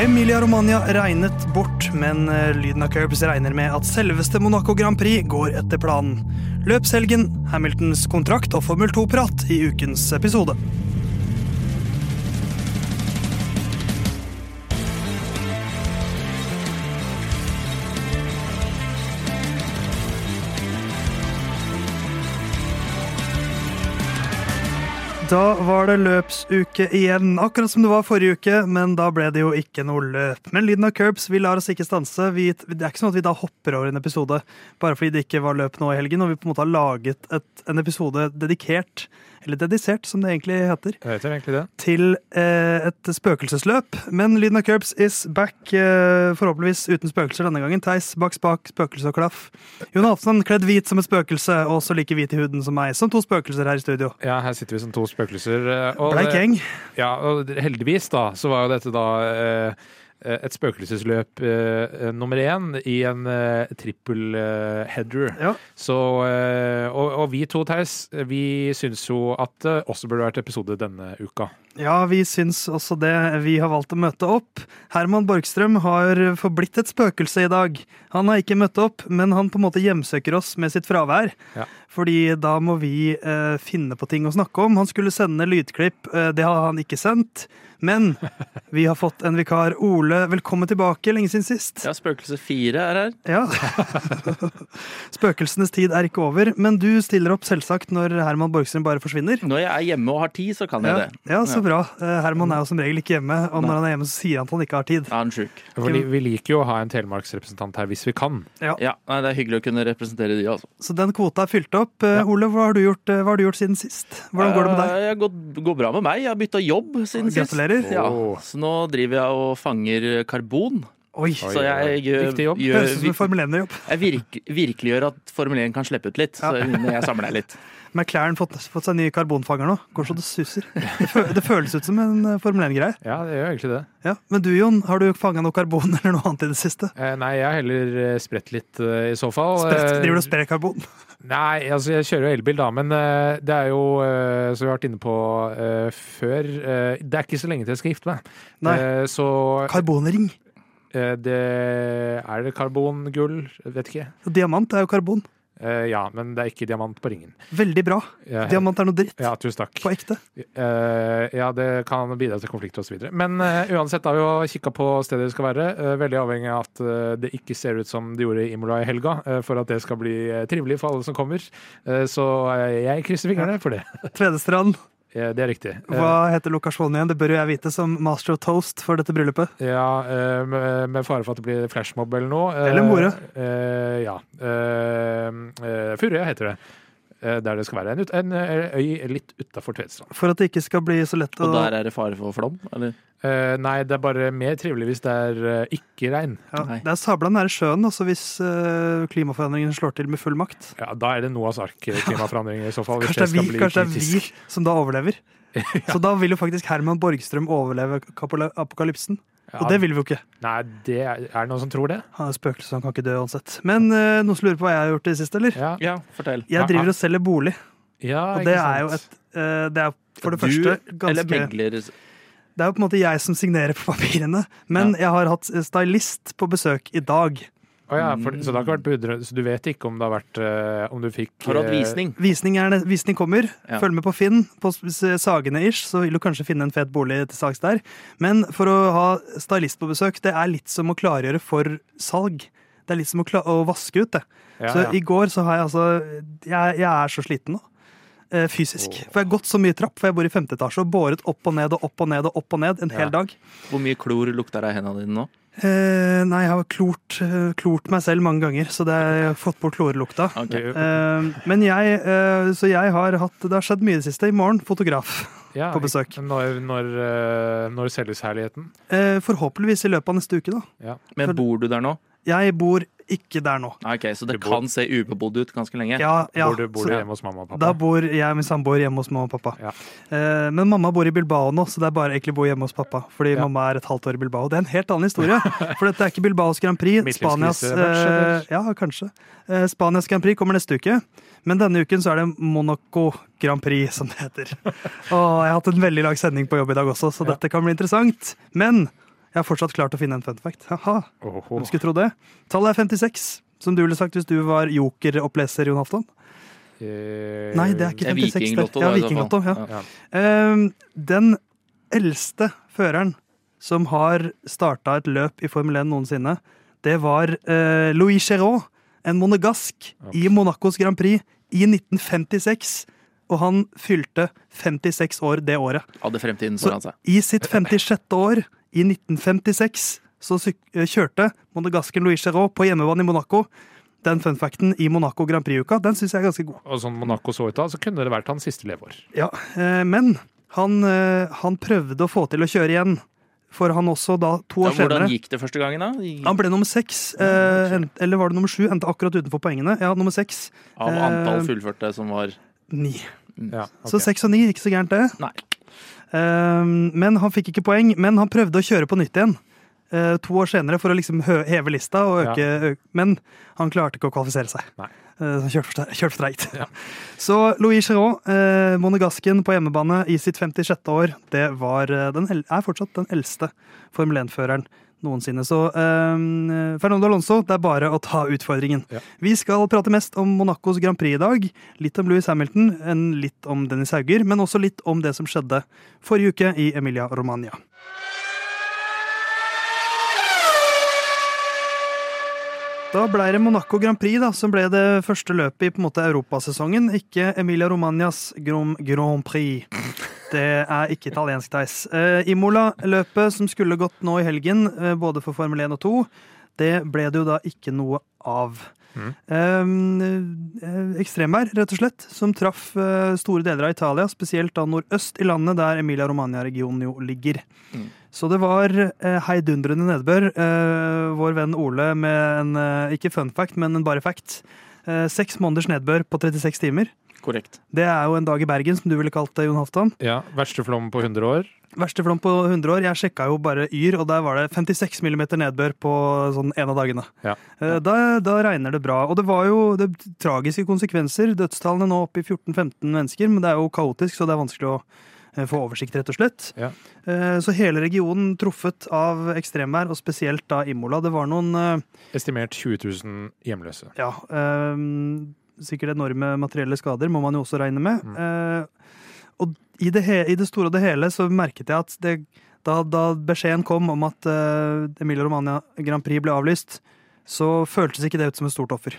Emilia Romagna regnet bort, men eh, lyden av Curbs regner med at selveste Monaco Grand Prix går etter planen. Løpshelgen, Hamiltons kontrakt og Formel 2-prat i ukens episode. Da var det løpsuke igjen, akkurat som det var forrige uke, men da ble det jo ikke noe løp. Men lyden av curbs, vi lar oss ikke stanse. Vi, det er ikke sånn at vi da hopper over en episode bare fordi det ikke var løp nå i helgen, og vi på en måte har laget et, en episode dedikert, eller dedisert som det egentlig heter, Jeg heter egentlig det. til eh, et spøkelsesløp. Men lyden av curbs is back, eh, forhåpentligvis uten spøkelser denne gangen. Theis bak spak, spøkelse og klaff. Jon Halvdan kledd hvit som et spøkelse, og så like hvit i huden som meg, som to spøkelser her i studio. Ja, her sitter vi som to spøkelser. eh, Og, Bleik gjeng. ja, og heldigvis da, så var jo dette da eh, et spøkelsesløp eh, nummer én i en eh, trippel eh, header. Ja. Så, eh, og, og vi to, Theis, vi syns jo at det også burde vært episode denne uka. Ja, vi syns også det. Vi har valgt å møte opp. Herman Borgstrøm har forblitt et spøkelse i dag. Han har ikke møtt opp, men han på en måte hjemsøker oss med sitt fravær. Ja. Fordi da må vi eh, finne på ting å snakke om. Han skulle sende lydklipp, eh, det har han ikke sendt. Men vi har fått en vikar. Ole, velkommen tilbake, lenge siden sist. Ja, Spøkelse 4 er her. Ja. Spøkelsenes tid er ikke over, men du stiller opp selvsagt når Herman Borgstrøm bare forsvinner. Når jeg er hjemme og har tid, så kan jeg Ja, det. ja, så bra. Eh, Herman er jo som regel ikke hjemme, og når han er hjemme, så sier han at han ikke har tid. Er han sjuk? Fordi vi liker jo å ha en telemarksrepresentant her hvis vi kan. Ja, nei, det er hyggelig å kunne representere de, altså. Så den kvota er fylt opp. Eh, Ja. Ole, hva har, du gjort, eh, hva har du gjort siden sist? Hvordan går det med deg? Eh, Jeg går, går bra med meg. Jeg har bytta jobb siden sist. Gratulerer. Ja, Åh. så nå driver jeg og fanger karbon. Oi, Oi. Så jeg gjør, Viktig jobb. gjør høres ut som en Formel 1-jobb. Jeg virk, virkeliggjør at Formel 1 kan slippe ut litt. Så jeg samler deg litt. McLaren fått, fått seg ny karbonfanger nå. Går så det suser. Det, fø, det føles ut som en eh, Formel 1-greie. Ja, det gjør egentlig det. Ja. Men du, Jon, har du fanga noe karbon eller noe annet i det siste? Eh, Nei, jeg har heller eh, spredt litt eh, i så fall. Spredt, Eh, driver du og sprer karbon? Nei, altså jeg kjører jo elbil da, men eh, det er jo, eh, som vi har vært inne på eh, før, eh, det er ikke så lenge til jeg skal gifte meg. Nei. Eh, så Karbonring. eh, det er det karbongull, vet ikke. Diamant er jo karbon. Eh, ja, men det er ikke diamant på ringen. Veldig bra. Jeg- Diamant er noe dritt. Ja, tusen takk. På ekte. Eh, ja, det kan bidra til konflikt osv. Men eh, uansett, da har vi jo kikka på stedet det skal være. eh, veldig avhengig av at eh, det ikke ser ut som det gjorde i Imola i helga, eh, for at det skal bli eh, trivelig for alle som kommer. Eh, så eh, jeg krysser fingrene for det. Tvedestrand, Eh, det er riktig. Eh, hva heter lokasjonen igjen? Det bør jo jeg vite som master of toast for dette bryllupet. Ja, eh, med med fare for at det blir flashmob eller noe. Eh, Eller more. eh, Ja. Eh, eh, Furøya heter det. Eh, Der det skal være. En, ut, en eh, øy litt utafor Tvedestrand. For at det ikke skal bli så lett å Og der er det fare for flom? Eller? Eh, Nei, det er bare mer trivelig hvis det er eh, ikke regn. ja, Nei. Det er sabla nære sjøen altså hvis eh, klimaforandringene slår til med full makt. Ja, Da er det Noahs ark-klimaforandringer i så fall. hvis Kanskje det, er skal vi, bli kanskje det er vi kritisk. som da overlever. Så da vil jo faktisk Herman Borgstrøm overleve kapole- apokalypsen. Og Ja, det vil vi jo ikke. Nei, det er, er det noen som tror det? Han er spøkelse, så han kan ikke dø uansett. Men eh, noen som lurer på hva jeg har gjort i det siste, eller? Ja, Ja, fortell. Jeg driver og selger bolig, ja og ikke det er jo et sant. eh, Det er for det du, første Eller ganske megler Det er jo på en måte jeg som signerer på papirene, men jeg har hatt stylist på besøk i dag. Å ja, for, så det har ikke vært budrunde, så du vet ikke om det har vært eh, Om du fikk Har du hatt eh, visning? Visning, er, ne- visning kommer. Ja. Følg med på Finn, på s- s- Sagene-ish, så vil du kanskje finne en fet bolig til salgs der. Men for å ha stylist på besøk, det er litt som å klargjøre for salg. Det er litt som å, kla å vaske ut, det. Ja, så ja. i går så har jeg altså Jeg, jeg er så sliten nå. eh, Fysisk. For jeg har gått så mye trapp, for jeg bor i femte etasje og båret opp og ned og opp og ned og opp og ned en Ja. hel dag. Hvor mye klor lukter det av hendene dine nå? Eh, nei, jeg har klort, eh, klort meg selv mange ganger, så det, jeg har fått bort klorelukta. Ok. Eh, men jeg, eh, så jeg har hatt Det har skjedd mye i det siste. I morgen, fotograf. Ja, på besøk. Når, når, eh, når selges herligheten? Eh, forhåpentligvis i løpet av neste uke, da. Ja. Men bor du der nå? Jeg bor ikke der nå. Ok, Så det Du bor- kan se ubebodd ut ganske lenge? Ja, ja. bor du, bor du så- hjemme hos mamma og pappa? Da bor jeg og min samboer hjemme hos mamma og pappa. Ja. Eh, men mamma bor i Bilbao nå, så det er bare egentlig å bo hjemme hos pappa. Fordi Ja. mamma er et halvt år i Bilbao. Det er en helt annen historie. For dette er ikke Bilbaos Grand Prix. Spanias Midtlivskrise, eller? eh, Ja, kanskje. Eh, Spanias Grand Prix kommer neste uke. Men denne uken så er det Monaco Grand Prix, som det heter. Og jeg har hatt en veldig lang sending på jobb i dag også, så Ja. dette kan bli interessant. Men Jeg har fortsatt klart å finne en fun fact. Haha, Oho. hvem skulle tro det? Tallet er 56, som du ville sagt hvis du var jokeroppleser, Jon Halvdan. Eh, Nei, det er ikke Det er 56. Det Vikinglotto, ja, da, i så fall. vikinglotto. Ja. Ja. ja. Ehm, den eldste føreren som har starta et løp i Formel 1 noensinne, det var eh, Louis Chéreau, en monegask, i Monacos Grand Prix i 1956. Og han fylte 56 år det året. Hadde fremtiden Så- foran seg. I sitt 56. år, i 1956, så syk eh, kjørte monegasken Louis Chéreau på hjemmebane i Monaco. Den funfacten i Monaco Grand Prix-uka, den syns jeg er ganske god. Og sånn Monaco så ut da, så kunne det vært hans siste leveår. Ja, eh, men han, eh, han prøvde å få til å kjøre igjen, for han også da to Ja, år senere. hvordan gikk det første gangen, da? I- Han ble nummer seks, eh, en- eller var det nummer sju? Endte akkurat utenfor poengene. Ja, nummer seks. Eh, Av antall fullførte som var Ni. Ja, Så ok. seks og ni, ikke så gærent det. Nei. Eh, men han fikk ikke poeng, men han prøvde å kjøre på nytt igjen. eh, to år senere for å liksom hø heve lista, og øke, ø- men han klarte ikke å kvalifisere seg. Nei. Eh, så han kjørte for, kjørte for treigt. Ja. Så Louis Chéreau, uh, monegasken på hjemmebane i sitt 56. år, det var, eh, den, el- er fortsatt den eldste Formel 1-føreren noensinne. Så eh, Fernando Alonso, det er bare å ta utfordringen. Ja. Vi skal prate mest om Monacos Grand Prix i dag. Litt om Louis Hamilton, en litt om Dennis Hauger, men også litt om det som skjedde forrige uke i Emilia Romagna. Da ble det Monaco Grand Prix da, som ble det første løpet i på en måte europasesongen, ikke Emilia Romagnas Grom Grand Prix. Det er ikke italiensk, Theis. Eh, Imola-løpet som skulle gått nå i helgen, eh, både for Formel 1 og 2, det ble det jo da ikke noe av. Eh, eh, ekstremvær, rett og slett, som traff eh, store deler av Italia, spesielt da nordøst i landet, der Emilia Romagna-regionen jo ligger. Mm. Så det var eh, heidundrende nedbør. Eh, vår venn Ole med en, eh, ikke fun fact, men en bare fact. Eh, seks måneders nedbør på 36 timer. korrekt. Det er jo en dag i Bergen, som du ville kalt det, Jon Halvdan. ja, Verste flom på 100 år. Verste flom på 100 år. Jeg sjekka jo bare Yr, og der var det 56 millimeter nedbør på sånn en av dagene. Ja. Eh, Da, da regner det bra. Og det var jo det tragiske konsekvenser. Dødstallene nå oppe i 14-15 mennesker, men det er jo kaotisk, så det er vanskelig å eh, få oversikt, rett og slett. Ja. Eh, Så hele regionen truffet av ekstremvær, og spesielt da Imola. Det var noen eh, Estimert 20 000 hjemløse. ja, ehm, sikkert enorme materielle skader må man jo også regne med. Mm. Eh, og i det, he i det store og det hele så merket jeg at det, da, da beskjeden kom om at uh, Emilia Romagna Grand Prix ble avlyst, så føltes ikke det ut som et stort offer.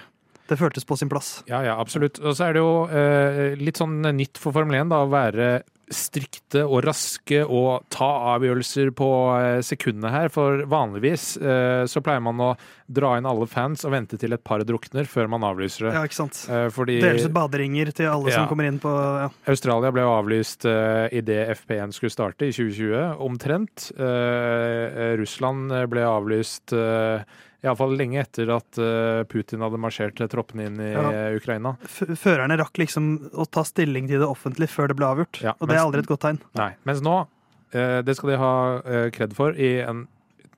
Det føltes på sin plass. Ja, ja, absolutt. Og så er det jo eh, litt sånn nytt for Formel 1 da, å være strikte og raske og ta avgjørelser på eh, sekundene her. For vanligvis eh, så pleier man å dra inn alle fans og vente til et par drukner før man avlyser det. Ja, ikke sant? Eh, fordi Deles ut baderinger til alle som Ja. kommer inn på ja. Australia ble jo avlyst uh, idet FP1 skulle starte i 2020, omtrent. Eh, Russland ble avlyst uh, iallfall lenge etter at eh, Putin hadde marsjert troppene inn i Ja. eh, Ukraina. F Førerne rakk liksom å ta stilling til det offentlig før det ble avgjort, Ja, og det er mens- aldri et godt tegn. Nei. Mens nå, eh, det skal de ha eh, kred for, i en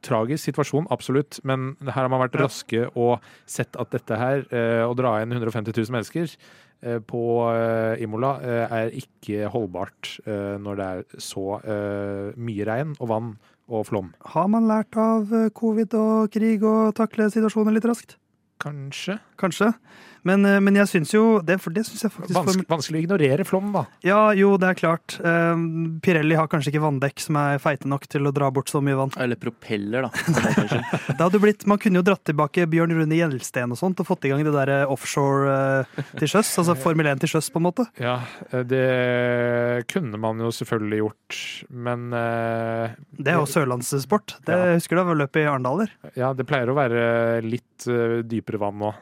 tragisk situasjon, absolutt, men her har man vært Ja. raske og sett at dette her, eh, å dra inn 150 000 mennesker eh, på eh, Imola, eh, er ikke holdbart eh, når det er så eh, mye regn og vann og flom. Har man lært av eh, covid og krig og takle situasjoner litt raskt? Kanskje. kanskje. Men, eh, men jeg syns jo det, for det syns jeg faktisk Vanskelig, vanskelig å ignorere flom, da. Ja, jo, det er klart. Eh, Pirelli har kanskje ikke vanndekk som er feite nok til å dra bort så mye vann. Eller propeller, da. Kanskje. Det hadde jo blitt, Man kunne jo dratt tilbake Bjørn Rune Gjelsten og sånt og fått i gang det derre offshore eh, til sjøs. Altså Formel 1 til sjøs, på en måte. Ja, eh, det kunne man jo selvfølgelig gjort, men eh, Det er jo sørlandssport. Det Ja. husker du da løpet i Arendal? der. ja, det pleier å være litt eh, dypere vann nå.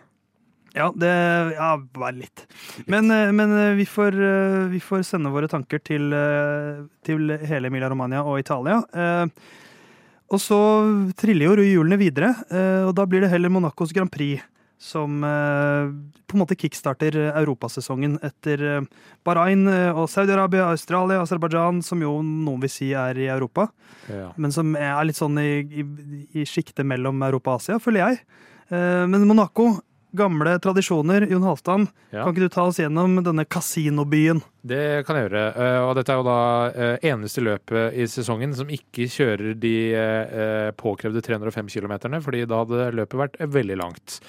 Ja, det Ja, bare litt. Men, eh, men eh, vi, får, eh, vi får sende våre tanker til, eh, til hele Emilia Romagna og Italia. Eh, Og så triller jo hjulene videre, eh, og da blir det heller Monacos Grand Prix som eh, på en måte kickstarter eh, europasesongen etter eh, Bahrain eh, og Saudi-Arabia, Australia, Aserbajdsjan, som jo noen vil si er i Europa Ja. men som er litt sånn i, i, i sjiktet mellom Europa og Asia, føler jeg. Eh, Men Monaco gamle tradisjoner. Jon Halvdan, Ja. kan ikke du ta oss gjennom denne kasinobyen? Det kan jeg gjøre. eh, Og dette er jo da eh, eneste løpet i sesongen som ikke kjører de eh, påkrevde 305 km, fordi da hadde løpet vært veldig langt.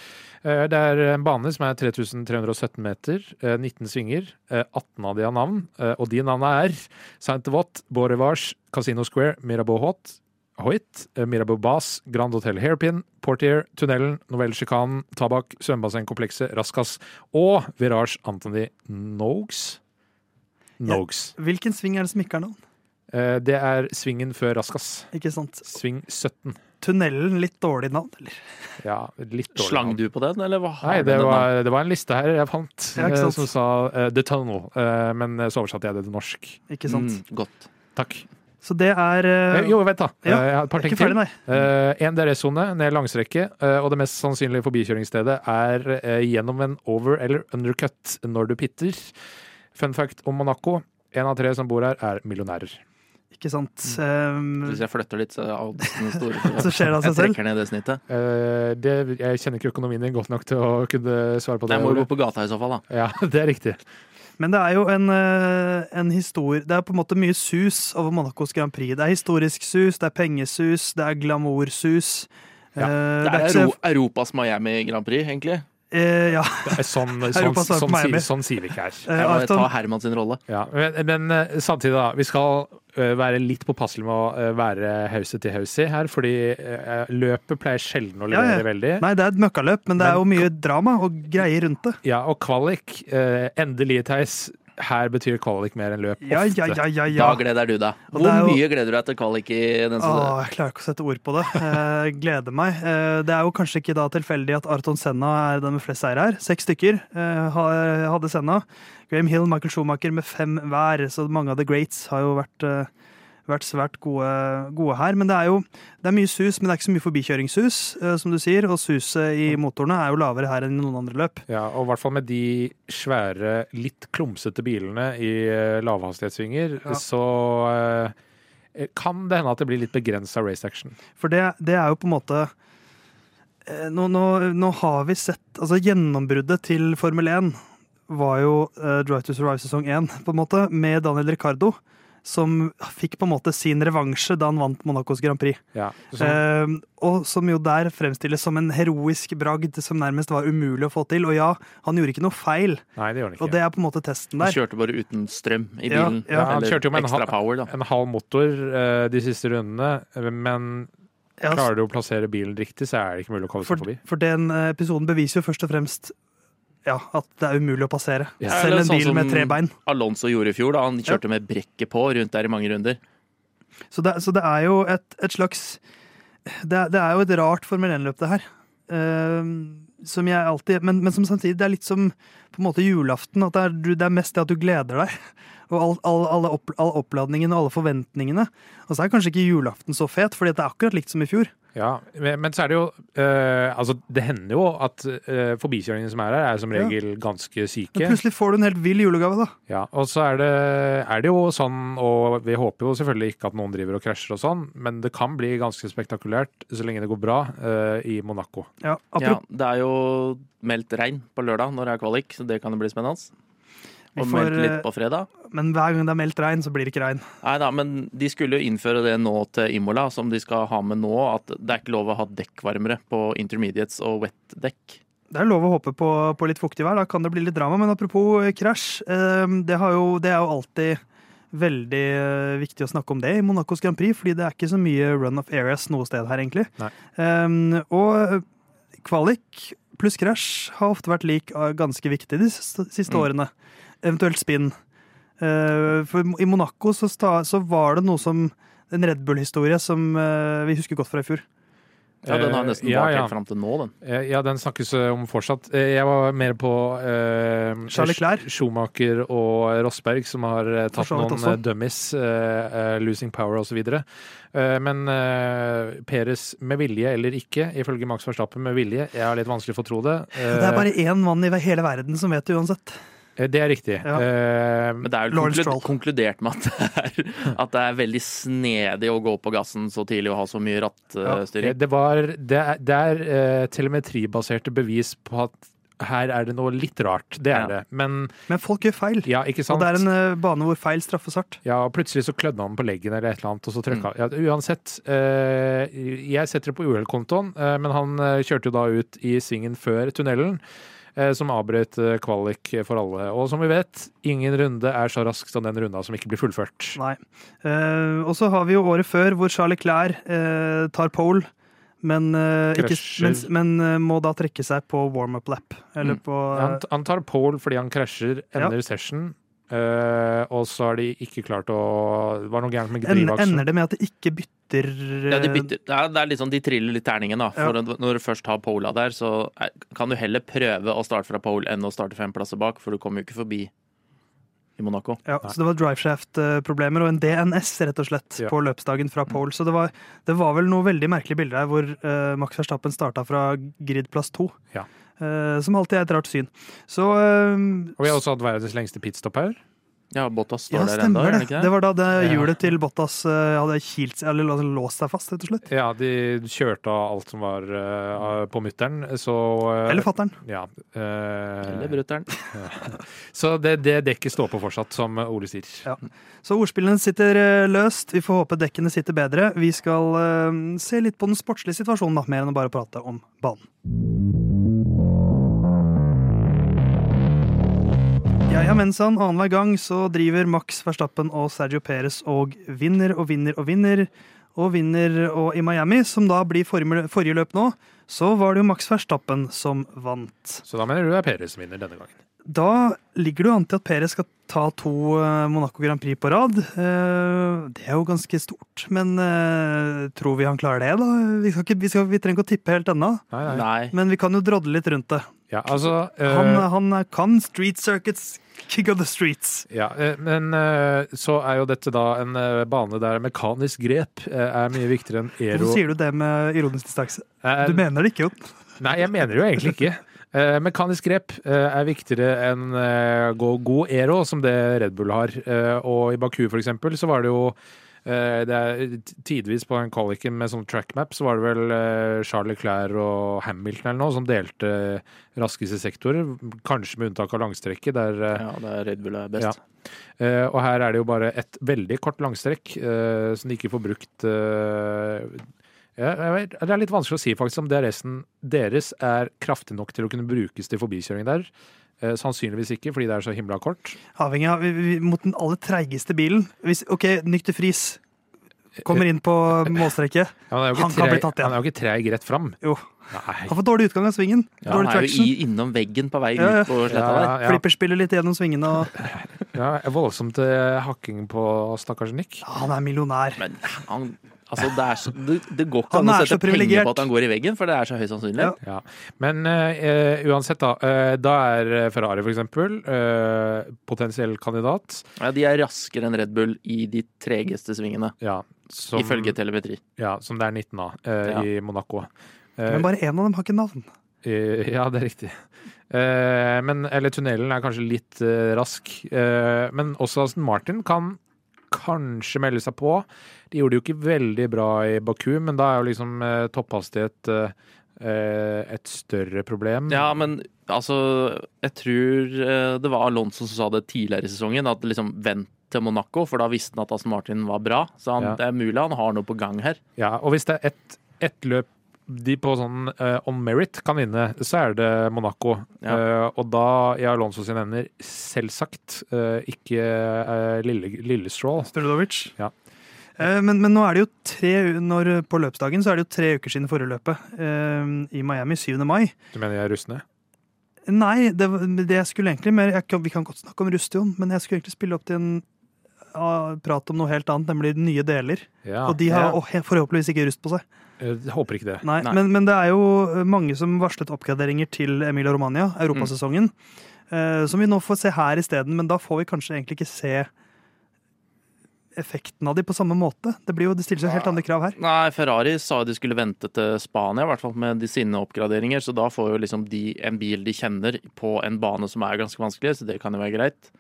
Eh, Det er en bane som er 3317 meter, eh, 19 svinger. eh, 18 av de har navn, eh, og de navnene er Saint Vought, Borevage, Casino Square, Mirabeau Haut, Hoit, eh, Mirabeau Bas, Grand Hotel Hairpin, Portier, Tunnelen, Novellesjikanen, Tabakk, svømmebassenkomplekset, Raskas og Virage Anthony Nogues. Nogues. Hvilken sving er det som ikke er navn? Eh, Det er svingen før Raskas. Ikke sant? Sving 17. Tunnelen, litt dårlig navn, eller? Ja, litt dårlig. Slang du på den, eller hva? har Nei, du det den da? var, det var en liste her jeg fant Ja, ikke eh, sant. som sa eh, The Tunnel, eh, men så oversatte jeg det til norsk. Ikke sant? Mm, godt. Takk. Så det er eh, Eh, Jo, vent da. ja, Eh, jeg har et par ting Ikke til. ferdig, nei. Eh, en DRS-sone ned langstrekket, eh, og det mest sannsynlige forbikjøringsstedet er eh, gjennom en over- eller undercut når du pitter. Fun fact om Monaco. En av tre som bor her, er millionærer. Ikke sant? Mm. Hvis jeg flytter litt, så er oddsene store. Eh, så skjer det av Jeg seg selv. trekker ned det snittet. Eh, det, jeg kjenner ikke økonomien din godt nok til å kunne svare på det. Jeg må jo Ole. gå på gata i så fall, da. Ja, det er riktig. Men det er jo en, eh, en historie Det er på en måte mye sus over Monacos Grand Prix. Det er historisk sus, det er pengesus, det er glamoursus. Ja, Eh, Det er ikke så- Euro Europas Miami Grand Prix, egentlig. eh, ja. Det er sånn, sånn, Europa sånn, svarer på meg sier- med. sånn sier vi ikke her. Eh, Jeg må ta Afton, Herman sin rolle. Ja, men, men eh, samtidig, da. Vi skal eh, være litt påpasselige med å eh, være hause til haus i her, fordi eh, løpet pleier sjelden å Ja, levere ja. veldig. nei, det er et møkkaløp, men det er Men- jo mye drama og greier rundt det. Ja, og kvalik. Eh, endelig, Theis. Her betyr kvalik mer enn løp. Ja, ofte. ja, ja, ja, Da ja. gleder du deg. Og det er Hvor jo- Ah, mye gleder du deg til kvalik i den sesongen? Åh, jeg klarer ikke å sette ord på det. Eh, gleder meg. Eh, det er jo kanskje ikke da tilfeldig at Arton Senna er den med flest seire her. Seks stykker eh, ha- hadde Senna. Graham Hill, Michael Schumacher med fem hver, så mange av the greats har jo vært eh, vært svært gode, gode her, men det er jo det er mye sus, men det er ikke så mye forbikjøringssus, eh, som du sier, og suset i motorene er jo lavere her enn i noen andre løp. Ja, og i hvert fall med de svære, litt klumsete bilene i eh, lavhastighetssvinger, Ja. så eh, kan det hende at det blir litt begrensa race action. For det, det er jo på en måte eh, nå, nå, nå har vi sett Altså, gjennombruddet til Formel 1 var jo eh, Drive to Survive sesong 1, på en måte, med Daniel Ricardo. Som fikk på en måte sin revansje da han vant Monacos Grand Prix. Ja, så, Eh, og som jo der fremstilles som en heroisk bragd som nærmest var umulig å få til. Og ja, han gjorde ikke noe feil, nei, det gjør han og ikke. det er på en måte testen Han der. kjørte bare uten strøm i Ja, bilen. ja. Han kjørte jo Eller med en ekstra halv- power, da. En halv motor eh, de siste rundene, eh, men Ja, klarer du å plassere bilen riktig, så er det ikke mulig å komme seg For, forbi. for den eh, episoden beviser jo først og fremst ja, at det er umulig å passere. Ja. Selv Eller en sånn bil med som- tre bein. Alonso gjorde i fjor, da. Han kjørte med brekket på rundt der i mange runder. Så det, så det er jo et, et slags det, er- det er jo et rart Formel 1-løp, det her. Ehm, som jeg alltid men, men som samtidig, det er litt som på en måte julaften. At det er, du, det er mest det at du gleder deg. Og all, all, alle opp, all oppladningen og alle forventningene. Og så er kanskje ikke julaften så fet, fordi det er akkurat likt som i fjor. Ja, men men så er det jo eh, Altså, det hender jo at eh, forbikjøringene som er her, er som Ja. regel ganske syke. Men plutselig får du en helt vill julegave, da. Ja, og så er det, er det jo sånn, og vi håper jo selvfølgelig ikke at noen driver og krasjer og sånn, men det kan bli ganske spektakulært så lenge det går bra eh, i Monaco. Ja, Ja, apropos, det er jo meldt regn på lørdag når det er kvalik, så det kan det bli spennende. Vi Og får, meldt eh, litt på fredag. Men hver gang det er meldt regn, så blir det ikke regn. Nei da, men de skulle jo innføre det nå til Imola, som de skal ha med nå, at det er ikke lov å ha dekkvarmere på intermediates og wet dekk. Det er lov å håpe på, på litt fuktig vær, da kan det bli litt drama. Men apropos eh, krasj, eh, det, har jo, det er jo alltid veldig eh, viktig å snakke om det i Monacos Grand Prix, fordi det er ikke så mye run of areas noe sted her, egentlig. Nei. Eh, og eh, kvalik pluss krasj har ofte vært lik eh, ganske viktig de siste, Mm. siste årene. Eventuelt spinn. Eh, for i Monaco så, sta, så var det noe som En Red Bull-historie som eh, vi husker godt fra i fjor. Ja, den har Eh, nesten ja, vart ja. helt fram til nå, den. Eh, ja, den snakkes eh, om fortsatt. Eh, jeg var mer på eh, Charles Leclerc. Sch- Schumacher og Rosberg, som har eh, tatt For så vidt noen også. eh, dummies, eh, eh, losing power osv. Uh, men eh, Perez med vilje eller ikke, ifølge Max Verstappen med vilje, jeg har litt vanskelig for å tro det. Eh, Det er bare én mann i hele verden som vet det uansett. eh, det er riktig. Ja. Eh, Men det er vel Lawrence konklud Stroll. konkludert med at det, er, at det er veldig snedig å gå på gassen så tidlig og ha så mye Ja, rattstyring. Det, var, det, er, det er eh, telemetribaserte eh, bevis på at her er det noe litt rart. Det er Ja. det. Men Men folk gjør feil. ja, ikke sant? Og det er en eh, bane hvor feil straffes hardt. Ja, og plutselig så klødde han på leggen eller et eller annet, og så Mm. trøkka han. Ja, uansett, eh, jeg setter det på uhellkontoen, eh, men han eh, kjørte jo da ut i svingen før tunnelen, eh, som avbrøt eh, kvalik for alle. Og som vi vet, ingen runde er så rask som den runda som ikke blir fullført. Nei. Eh, og så har vi jo året før hvor Charlie Clair eh, tar pole, men, eh, ikke, Krasjer. men, men eh, må da trekke seg på warm-up lap. Eller Mm. på Han, han tar pole fordi han krasjer, ender session, eh, og så har de ikke klart å Det var noe gærent med eh, ender, drivaksen. ender det med at de ikke bytter eh, Ja, de, bytter, det er, det er litt sånn, de triller litt terningen, da. For at Når du først har pola der, så er, kan du heller prøve å starte fra pole enn å starte fem plasser bak, for du kommer jo ikke forbi i Monaco. Ja, så det var driveshaft-problemer og en DNS rett og slett Ja. Mm. på løpsdagen fra pole. Så det var, det var vel noe veldig merkelig bilde her hvor eh, Max Verstappen starta fra gridplass to. Ja. Eh, som alltid er et rart syn. Så eh, Og vi har også hatt verdens lengste pitstop her. Ja, Bottas står Ja, der ennå, stemmer gjør det. han ikke Det det? var da det Ja. hjulet til Bottas eh, hadde kilt seg, eller altså låst seg fast, rett og slett. Ja, de kjørte av alt som var eh, på mutter'n, så eh, Eller fattern. Ja. eh, Eller brutter'n. så det, det dekket står på fortsatt, som Ole sier. Ja. Så ordspillene sitter eh, løst. Vi får håpe dekkene sitter bedre. Vi skal eh, se litt på den sportslige situasjonen, da, mer enn å bare prate om banen. Ja, ja, mensan, annenhver gang så driver Max Verstappen og Sergio Perez og vinner og vinner og vinner. Og vinner og i Miami, som da blir formel- forrige løp nå, så var det jo Max Verstappen som vant. Så da mener du det er Peres som vinner denne gangen. Da ligger det jo an til at Perez skal ta to eh, Monaco Grand Prix på rad. Eh, Det er jo ganske stort, men eh, tror vi han klarer det, da? Vi, skal ikke, vi, skal, vi trenger ikke å tippe helt ennå, Nei, nei. Nei. men vi kan jo drodle litt rundt det. Ja, altså eh, Han, han kan street circuits, kick of the streets. ja, eh, Men eh, så er jo dette da en eh, bane der mekanisk grep eh, er mye viktigere enn aero... Hvorfor sier du det med ironisk distanse? Eh, Du mener det ikke, Jon. Nei, jeg mener jo egentlig ikke. Eh, mekanisk grep eh, er viktigere enn eh, gå- god aero, som det Red Bull har. Eh, og i Baku, for eksempel, så var det jo eh, det er t- Tidvis på den kvaliken med sånn trackmap så var det vel eh, Charlie Clair og Hamilton eller noe som delte raskeste sektorer, kanskje med unntak av langstrekket, der eh, Ja, det er Red Bull er best. Eh, og her er det jo bare et veldig kort langstrekk eh, som de ikke får brukt eh, ja, jeg vet, Det er litt vanskelig å si faktisk om DRS-en deres er kraftig nok til å kunne brukes til forbikjøring der. Eh, sannsynligvis ikke, fordi det er så himla kort. Avhengig av vi- vi- mot den aller treigeste bilen. Hvis, OK, nykter fris Eh. kommer inn på målstreket. Ja, men han er jo ikke Han kan treig- bli tatt, ja. Han er jo ikke treig rett fram. Jo, Nei. han får dårlig utgang av svingen. Ja, han dårlig er jo traction. i, innom veggen på vei Ja, ja. ut på sletta der. Ja, ja, Flipper spiller litt gjennom svingene og ja, voldsomt eh, hakking på stakkars Nick. Ja, Han er millionær. Men han Altså, det, er så, det, det går ikke Han an å er sette så penger privilegert. på at han går i veggen, for det er så høy sannsynlighet. Ja. Men eh, eh, uansett, da. eh, da er Ferrari, for eksempel, eh, potensiell kandidat. Ja. de er raskere enn Red Bull i de tregeste svingene, Ja, som- ifølge telemetri. Ja, som det er 19 av eh, Ja. i Monaco. Eh, Men bare én av dem har ikke navn. eh, ja, det er riktig. Eh, men, eller tunnelen er kanskje litt eh, rask. Eh, men også Aston Martin kan kanskje melde seg på. De gjorde det jo ikke veldig bra i Baku, men da er jo liksom eh, topphastighet eh, eh, et større problem. Ja, men altså Jeg tror eh, det var Alonso som sa det tidligere i sesongen, at liksom vent til Monaco, for da visste han at Aston Martin var bra. Så han, Ja. det er mulig han har noe på gang her. Ja, og hvis det er ett ett løp de på sånn eh, on merit kan vinne, så er det Monaco. Ja. Eh, og da i Alonso sine hender, selvsagt, eh, ikke eh, lille, lille Stroll. altså. Strudovic. Ja. Eh, Men, men nå er det jo tre, u- når, på løpsdagen så er det jo tre uker siden forrige løpet eh, i Miami, 7. mai. Du mener jeg er russende? Nei, det, var- det jeg skulle egentlig mer jeg, kan- Vi kan godt snakke om Rustion, men jeg skulle egentlig spille opp til en ja, prat om noe helt annet, nemlig nye deler. Ja. og de har ja. å, he- forhåpentligvis ikke rust på seg. Eh, håper ikke det. Nei, Nei. Men, men det er jo eh, mange som varslet oppgraderinger til Emilia Romagna, europasesongen. eh, som vi nå får se her isteden, men da får vi kanskje egentlig ikke se effekten av de på samme måte. Det, blir jo, det stilles jo helt andre krav her. Nei, Ferrari sa jo de skulle vente til Spania, i hvert fall med de sine oppgraderinger. Så da får jo liksom de en bil de kjenner på en bane som er ganske vanskelig, så det kan jo være greit.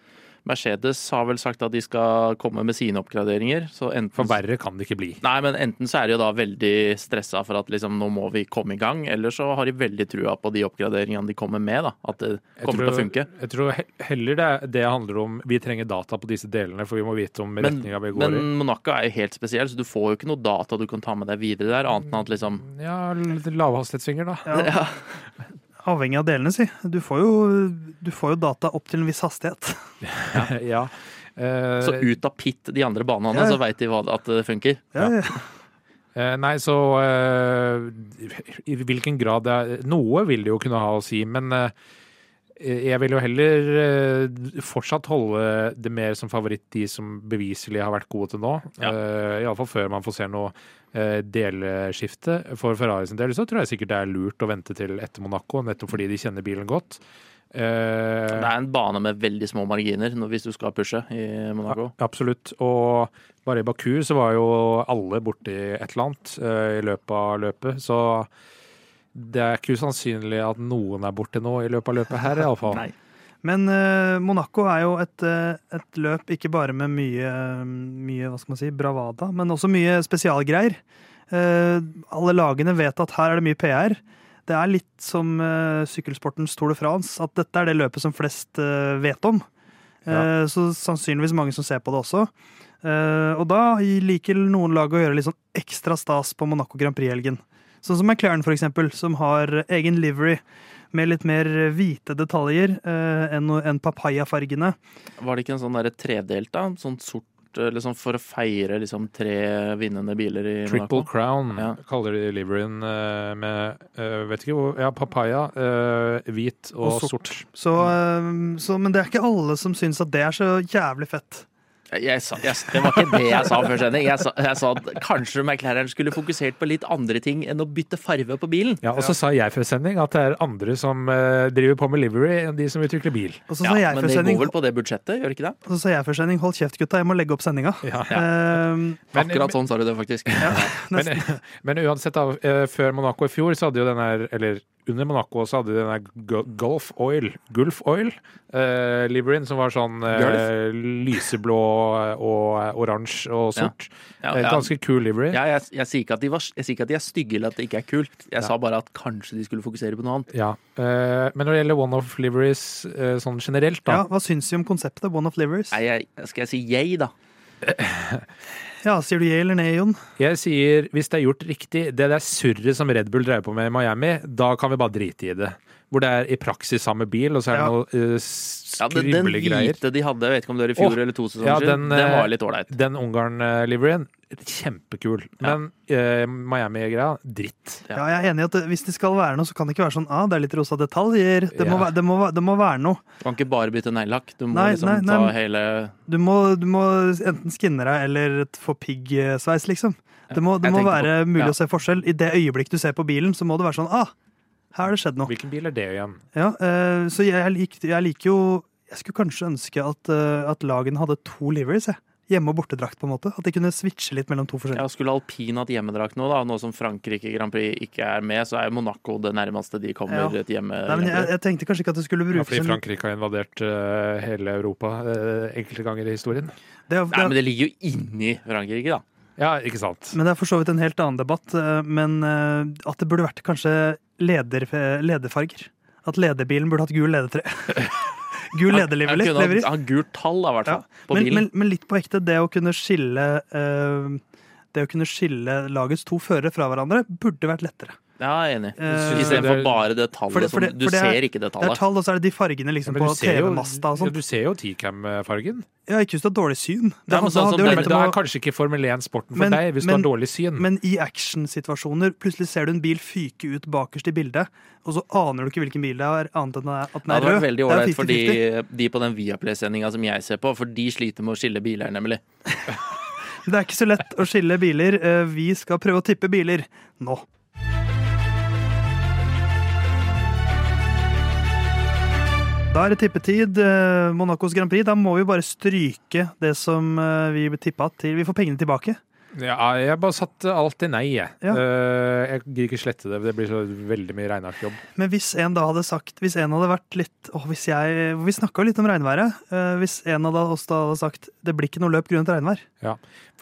Mercedes har vel sagt at de skal komme med sine oppgraderinger. Så For enten, verre kan det ikke bli. nei, men enten så er de jo da veldig stressa for at liksom, nå må vi komme i gang, eller så har de veldig trua på de oppgraderingene de kommer med. da, At det Jeg kommer til å tror- funke. Jeg tror he- heller det, er- det handler om vi trenger data på disse delene, for vi må vite om Men, retninga vi går men Monaco er jo helt spesiell, så du får jo ikke noe data du kan ta med deg videre der, annet enn at liksom i. Ja, l- lavhastighetssvinger, da. Ja. Avhengig av delene, si. Du får, jo, du får jo data opp til en viss hastighet. ja. Eh, Så ut av pit de andre banene, Ja, ja. så veit de hva, at det funker. Ja, ja. Eh, nei, så eh, I hvilken grad det er Noe vil det jo kunne ha å si, men eh, jeg vil jo heller eh, fortsatt holde det mer som favoritt de som beviselig har vært gode til nå. Ja. Eh, i alle Iallfall før man får se noe eh, delskifte. For Ferrari sin del så tror jeg sikkert det er lurt å vente til etter Monaco, nettopp fordi de kjenner bilen godt. Eh, Det er en bane med veldig små marginer når- hvis du skal pushe i Monaco. Ja, Absolutt. Og bare i Baku så var jo alle borti et eller annet eh, i løpet av løpet, så det er ikke usannsynlig at noen er borti noe i løpet av løpet her, iallfall. Nei. Men eh, Monaco er jo et, eh, et løp ikke bare med mye, mye hva skal man si, bravada, men også mye spesialgreier. Eh, alle lagene vet at her er det mye PR. Det er litt som eh, sykkelsportens Tour de France, at dette er det løpet som flest eh, vet om. Ja. Eh, så sannsynligvis mange som ser på det også. Eh, og da liker noen lag å gjøre litt sånn ekstra stas på Monaco Grand Prix-helgen. Sånn som McLaren, for eksempel, som har egen livery med litt mer hvite detaljer eh, enn enn papaya-fargene. Var det ikke en sånn derre tredelt, da? Sånn sort eh, liksom For å feire liksom tre vinnende biler i Triple Monaco? Crown Ja. kaller de liveryen eh, med eh, Vet ikke hvor Ja, papaya, eh, hvit og, Og sort. sort. Så, Mm. eh, så, men det er ikke alle som syns at det er så jævlig fett. Jeg, jeg, sa- jeg, det var ikke det jeg sa før sending. Jeg, sa- jeg sa at kanskje McLaren skulle fokusert på litt andre ting enn å bytte farve på bilen. Ja, Og så sa jeg før sending at det er andre som eh, driver på med livery, enn de som utvikler bil. Og så Ja, sa jeg men før det sending, går vel på det budsjettet, gjør det ikke det? og så sa jeg før sending 'hold kjeft, gutta, jeg må legge opp sendinga'. Eh, Men- Akkurat sånn sa du det, faktisk. Men, men uansett, da, eh, før Monaco i fjor, så hadde jo den her Eller under Monaco så hadde de den her Gu- Gulf Oil, Gulf Oil eh, Liverine, som var sånn eh, lyseblå og oransje og sort. Ja, Eh, ja. Ganske kul livery. Ja, jeg, jeg, sier ikke at de var, jeg sier ikke at de er stygge eller at det ikke er kult. Jeg sa bare at kanskje de skulle fokusere på noe annet. Ja. eh, men når det gjelder one-off liveries eh, sånn generelt, da ja, hva syns vi om konseptet One of Livers? Nei, jeg, skal jeg si yay, da? Ja, sier du ja eller nei, Jon? Jeg sier, hvis det er gjort riktig, det der surret som Red Bull drev på med i Miami, da kan vi bare drite i det. Hvor det er i praksis samme bil, og så er det Ja. noe uh, Ja, den, den skriblegreier. hvite de hadde, jeg vet ikke om det var i fjor Åh, eller to sesonger ja, siden, den, den eh, var litt ålreit. Den Ungarn-liveryen, kjempekul. Men eh, Miami-greia, dritt. Ja. Ja, jeg er enig i at det- hvis det skal være noe, så kan det ikke være sånn ah, det er litt rosa detaljer. Det, må, Ja. væ- det, må, væ- det må være noe. Du kan ikke bare bytte neglelakk. Du må Nei, liksom nei, nei, ta men- hele Du må, du må enten skinne deg eller et få pigg-sveis, liksom. Det må, det Jeg må tenker være på- mulig ja. å se forskjell. I det øyeblikk du ser på bilen, så må det være sånn ah, her har det skjedd noe. Hvilken bil er det igjen? Ja, eh, så jeg, likte, jeg liker jo Jeg skulle kanskje ønske at, eh, at lagene hadde to liveries, jeg. Hjemme- og bortedrakt, på en måte. At de kunne switche litt mellom to ja, forskjellige. Skulle alpin hatt hjemmedrakt nå, da, nå som Frankrike Grand Prix ikke er med, så er Monaco det nærmeste de kommer Ja. et hjemme... Nei, men jeg, jeg tenkte kanskje ikke at det skulle Ja, brukes fordi en- Frankrike har invadert eh, hele Europa eh, enkelte ganger i historien. det, er- Nei, det, men det ligger jo inni Frankrike, da. Ja, ikke sant? Men det er for så vidt en helt annen debatt. eh, Men eh, at det burde vært kanskje leder, eh, lederfarger. At lederbilen burde hatt gul ledertre. gul Han lederliveri. kunne liveri. ha- ha gult tall, da, i hvert Ja. fall. På Men, bilen. men, men litt på ekte, det å kunne skille eh, det å kunne skille lagets to førere fra hverandre burde vært lettere. Ja, jeg er enig. Eh, Istedenfor det er- bare det tallet For det- for det- som Du for det er- ser ikke det Det er tallet. tall, og så er det de fargene liksom, Men på du ser jo- TV-masta og ja, sånn. du ser jo T-cam-fargen. Ja, ikke hvis du har dårlig syn. Ja, men Da- da sånn som hadde jo det- Men litt da om er å- kanskje ikke Formel 1-sporten for Men- deg, hvis men- du har dårlig Mm. syn. Men i actionsituasjoner, plutselig ser du en bil fyke ut bakerst i bildet, og så aner du ikke hvilken bil det er, annet enn at den Det er hadde rød. vært veldig Det er ålreit for de, 50-50. de på den Viaplay-sendinga som jeg ser på, for de sliter med å skille biler, nemlig. Det er ikke så lett å skille biler. Eh, Vi skal prøve å tippe biler nå. Da er det tippetid. eh, Monacos Grand Prix. Da må vi bare stryke det som eh, vi tippa til Vi får pengene tilbake. Ja, jeg bare satte alltid nei, jeg. Ja. Eh, Jeg gidder ikke slette det, det blir så veldig mye regnearkjobb. Men hvis en da hadde sagt Hvis en hadde vært litt åh, hvis jeg, Vi snakka jo litt om regnværet. Eh, hvis en av da- oss da hadde sagt det blir ikke noe løp grunnet regnvær,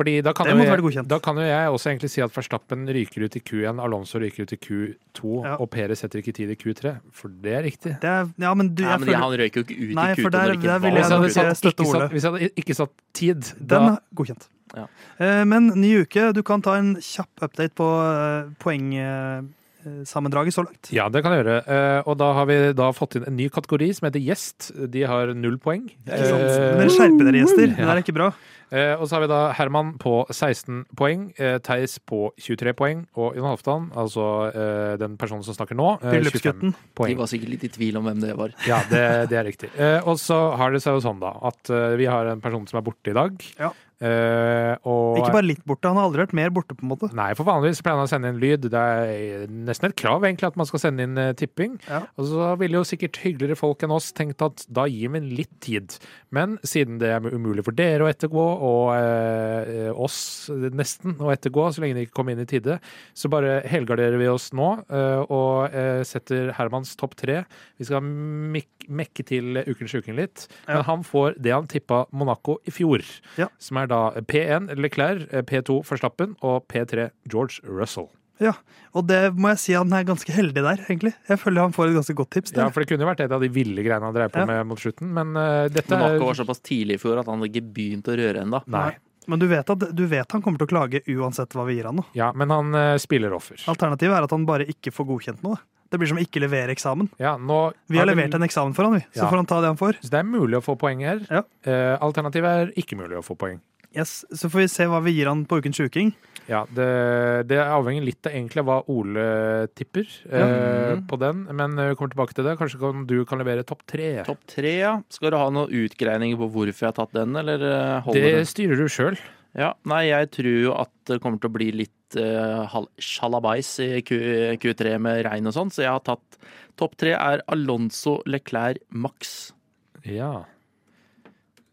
Fordi da kan, Det jo måtte vært jeg, godkjent. da kan jo jeg også egentlig si at Verstappen ryker ut i Q1, Alonso ryker ut i Q2, Ja. og Perez setter ikke tid i Q3, for det er riktig. det er, ja, men du, Nei, jeg men de- føler Han røyker jo ikke ut Nei, i for der- Q2 når det der ikke ville Hvis jeg var nok- hadde Q2. jeg satt, støtter ikke Ole. satt, hvis jeg hadde ikke satt tid, den da er godkjent. Ja. Eh, men ny uke. Du kan ta en kjapp update på eh, poengsammendraget så langt. Ja, det kan jeg gjøre. Eh, Og da har vi da fått inn en ny kategori som heter Gjest. De har null poeng. Ikke sant? Eh, Men dere skjerper dere, gjester. Det Ja. der er ikke bra. Eh, og så har vi da Herman på 16 poeng, eh, Theis på 23 poeng, og Jon Halvdan, altså eh, den personen som snakker nå, eh, 25 Bryllupsgutten. De poeng. var sikkert litt i tvil om hvem det var. Ja, det, det er riktig. Eh, og så har det seg jo sånn, da, at eh, vi har en person som er borte i dag. Ja. Eh, og Ikke bare litt borte, han har aldri vært mer borte, på en måte. Nei, for vanligvis pleier han å sende inn lyd. Det er nesten et krav egentlig at man skal sende inn eh, tipping. Ja. Og så ville jo sikkert hyggeligere folk enn oss tenkt at da gir vi inn litt tid. Men siden det er umulig for dere å ettergå, og eh, eh, oss nesten å ettergå, så lenge de ikke kom inn i tide, så bare helgarderer vi oss nå eh, og eh, setter Hermans topp tre. Vi skal mek mekke til Ukens Uken litt. Ja. Men han får det han tippa Monaco i fjor, Ja. som er da P1 Leclerc, P2 Verstappen og P3 George Russell. Ja, Og det må jeg si han er ganske heldig der, egentlig. Jeg føler han får et ganske godt tips. Ja, Der. for det kunne jo vært et av de ville greiene han dreier på Ja. med mot slutten, men eh, dette er Monaco var såpass tidlig i fjor at han hadde ikke begynt å røre ennå. Nei. Men du vet, at, du vet han kommer til å klage uansett hva vi gir han nå. Ja, men han eh, spiller offer. Alternativet er at han bare ikke får godkjent noe. Det blir som å ikke levere eksamen. Ja, nå Vi har det- levert en eksamen for han, vi. Så Ja. får han ta det han får. Så det er mulig å få poeng her. Ja. Eh, alternativet er ikke mulig å få poeng. Yes, Så får vi se hva vi gir han på Ukens sjuking. Ja, det, det avhenger litt av egentlig hva Ole tipper eh, på den, men eh, vi kommer tilbake til det. Kanskje kan, du kan levere topp tre? Topp tre, ja. Skal du ha noen utgreininger på hvorfor jeg har tatt den, eller eh, holder Det det? styrer du sjøl. Ja, nei, jeg tror jo at det kommer til å bli litt eh, hal- sjalabais i Q, Q3 med regn og sånn, så jeg har tatt Topp tre er Alonso Leclerc Max. Ja.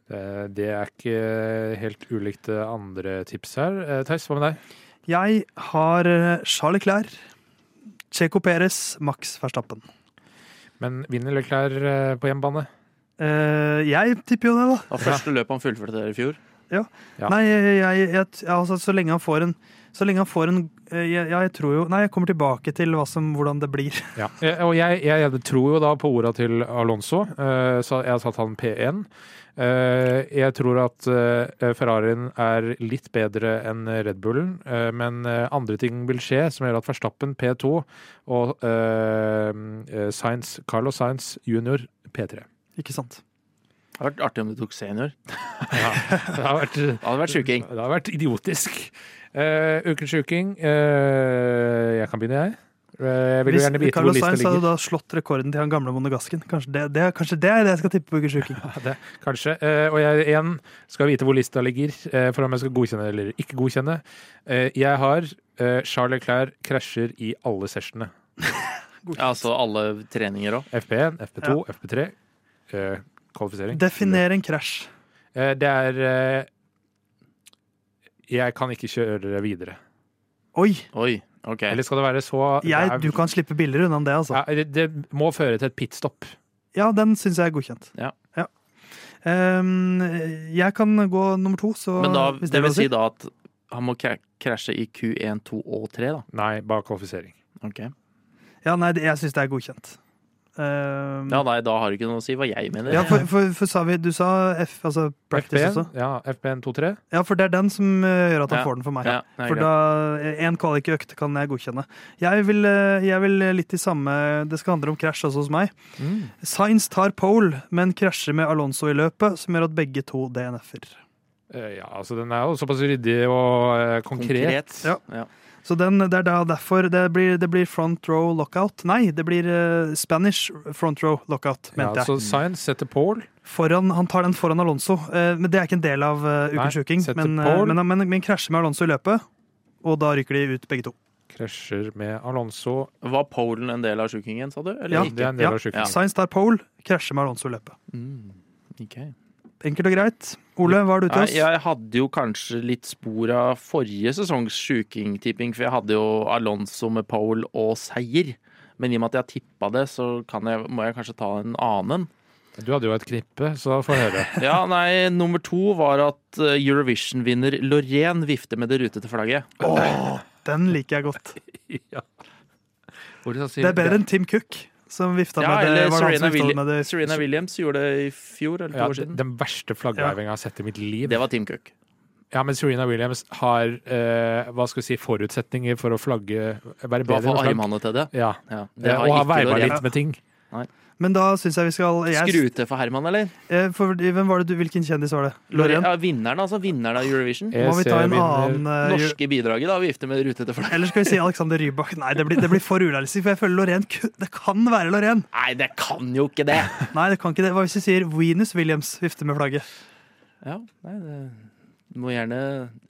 Eh, Det er ikke helt ulikt det andre tips her. Eh, Theis, hva med deg? Jeg har eh, Charles Leclerc, Checo Perez, Max Verstappen. Men vinner Leclerc eh, på hjemmebane? Eh, jeg tipper jo det, da. Det var første løpet han fullførte der i fjor. Ja. Nei, jeg, jeg, jeg, altså, så lenge han får en Så lenge han får en eh, jeg, jeg tror jo Nei, jeg kommer tilbake til hva som, hvordan det blir. Ja. Eh, Og jeg, jeg, jeg tror jo da på orda til Alonso, eh, så jeg har tatt han P1. Eh, Jeg tror at eh, Ferrarien er litt bedre enn Red Bullen, eh, men eh, andre ting vil skje som gjør at Verstappen P2 og eh, Sainz, Carlo Sainz junior P3. Ikke sant? Det hadde vært artig om du tok senior. Ja, det har vært Det hadde vært sjuking. Det har vært idiotisk. Eh, ukens sjuking. eh, jeg kan begynne, jeg. Eh, jeg vil jo Hvis gjerne vite hvor Carlos lista Sainz hadde ligger. da slått rekorden til han gamle monegasken. Kanskje det, det, kanskje det er det jeg skal tippe på Ukens uke. Kanskje. Eh, og jeg igjen skal vite hvor lista ligger, eh, for om jeg skal godkjenne eller ikke godkjenne. Eh, jeg har eh, Charles Leclerc krasjer i alle sessionene. Ja, altså alle treninger òg. FP1, FP2, FP3. Eh, kvalifisering. Definer en krasj. Eh, det er eh, Jeg kan ikke kjøre videre. Oi! Oi, OK. Eller skal det være så det Jeg, er- du kan slippe billigere unna enn det, altså. Ja, det, det må føre til et pitstop. Ja, den syns jeg er godkjent. Ja. Ehm, jeg kan gå nummer to, så Men da, hvis det er lov vil å si da at han må kra- krasje i Q1, 2 og 3, da. Nei, bare kvalifisering. Ok. Ja, nei, det- jeg syns det er godkjent. Ehm, Ja, nei, da har det ikke noe å si hva jeg mener. ja, for, for, for sa vi Du sa F, altså practice FP1, også. ja, FP1 2-3. Ja, for det er den som eh, gjør at han Ja. får den for meg. Ja, nei, For greit. da En kvalikøkt kan jeg godkjenne. Jeg vil, eh, jeg vil litt i samme Det skal handle om krasj også hos meg. Sainz tar pole, men krasjer med Alonso i løpet, som gjør at begge to DNF-er. Eh, Ja, altså den er jo såpass ryddig og eh, konkret. Konkret. Ja. Ja. Så den, det er da derfor det blir, det blir front row lockout. Nei, det blir eh, Spanish front row lockout, Ja, mente jeg. så Science setter pole. Foran, han tar den foran Alonso, eh, men det er ikke en del av eh, Nei, Ukens uking. setter Men, eh, pole. men, men, men krasjer med Alonso i løpet, og da ryker de ut begge to. Krasjer med Alonso. Var Polen en del av sjukingen, sa du? Eller Ja. Det er ikke? en del av sjukdommen. Sainz tar pole, krasjer med Alonso i løpet. Mm. ok. Enkelt og greit. Ole, hva er du til Nei, oss? jeg hadde jo kanskje litt spor av forrige sesongs sjuking-tipping, for jeg hadde jo Alonso med pole og seier. Men i og med at jeg har tippa det, så kan jeg, må jeg kanskje ta en annen. Du hadde jo et knippe, så få høre. Ja, nei, nummer to var at eh, Eurovision-vinner Loreen vifter med det rutete flagget. Åh, den liker jeg godt. Det Det er bedre enn Tim Cook, som vifta Ja, med det. eller var det han Serena, som vifta Willi med det. Serena Williams gjorde det i fjor eller to ja, år siden. Den verste flaggveivinga jeg har sett i mitt liv. Det var Team Cook. Ja, men Serena Williams har eh, hva skal vi si, forutsetninger for å flagge Være I hvert bedre fall med flagg. armene til det. Ja. Ja, det Det har og har ikke veiva Loreen. litt med ting. Men da syns jeg vi skal jeg, Skru til for Herman, eller? eh, for, Hvem var det du, Hvilken kjendis var det? Loreen? Loreen? Ja, vinneren, altså. Vinneren av Eurovision. Ja. Må vi ta en SC annen eh, ju- Norske bidraget, da. Vifter med det rutete flagget. Eller skal vi si Alexander Rybak? Nei, det blir, det blir for urealistisk, for jeg føler Loreen ku- Det kan være Loreen! Nei, det kan jo ikke det! Nei, det kan ikke det. Hva hvis vi sier Venus Williams vifter med flagget? Ja, nei, det du må gjerne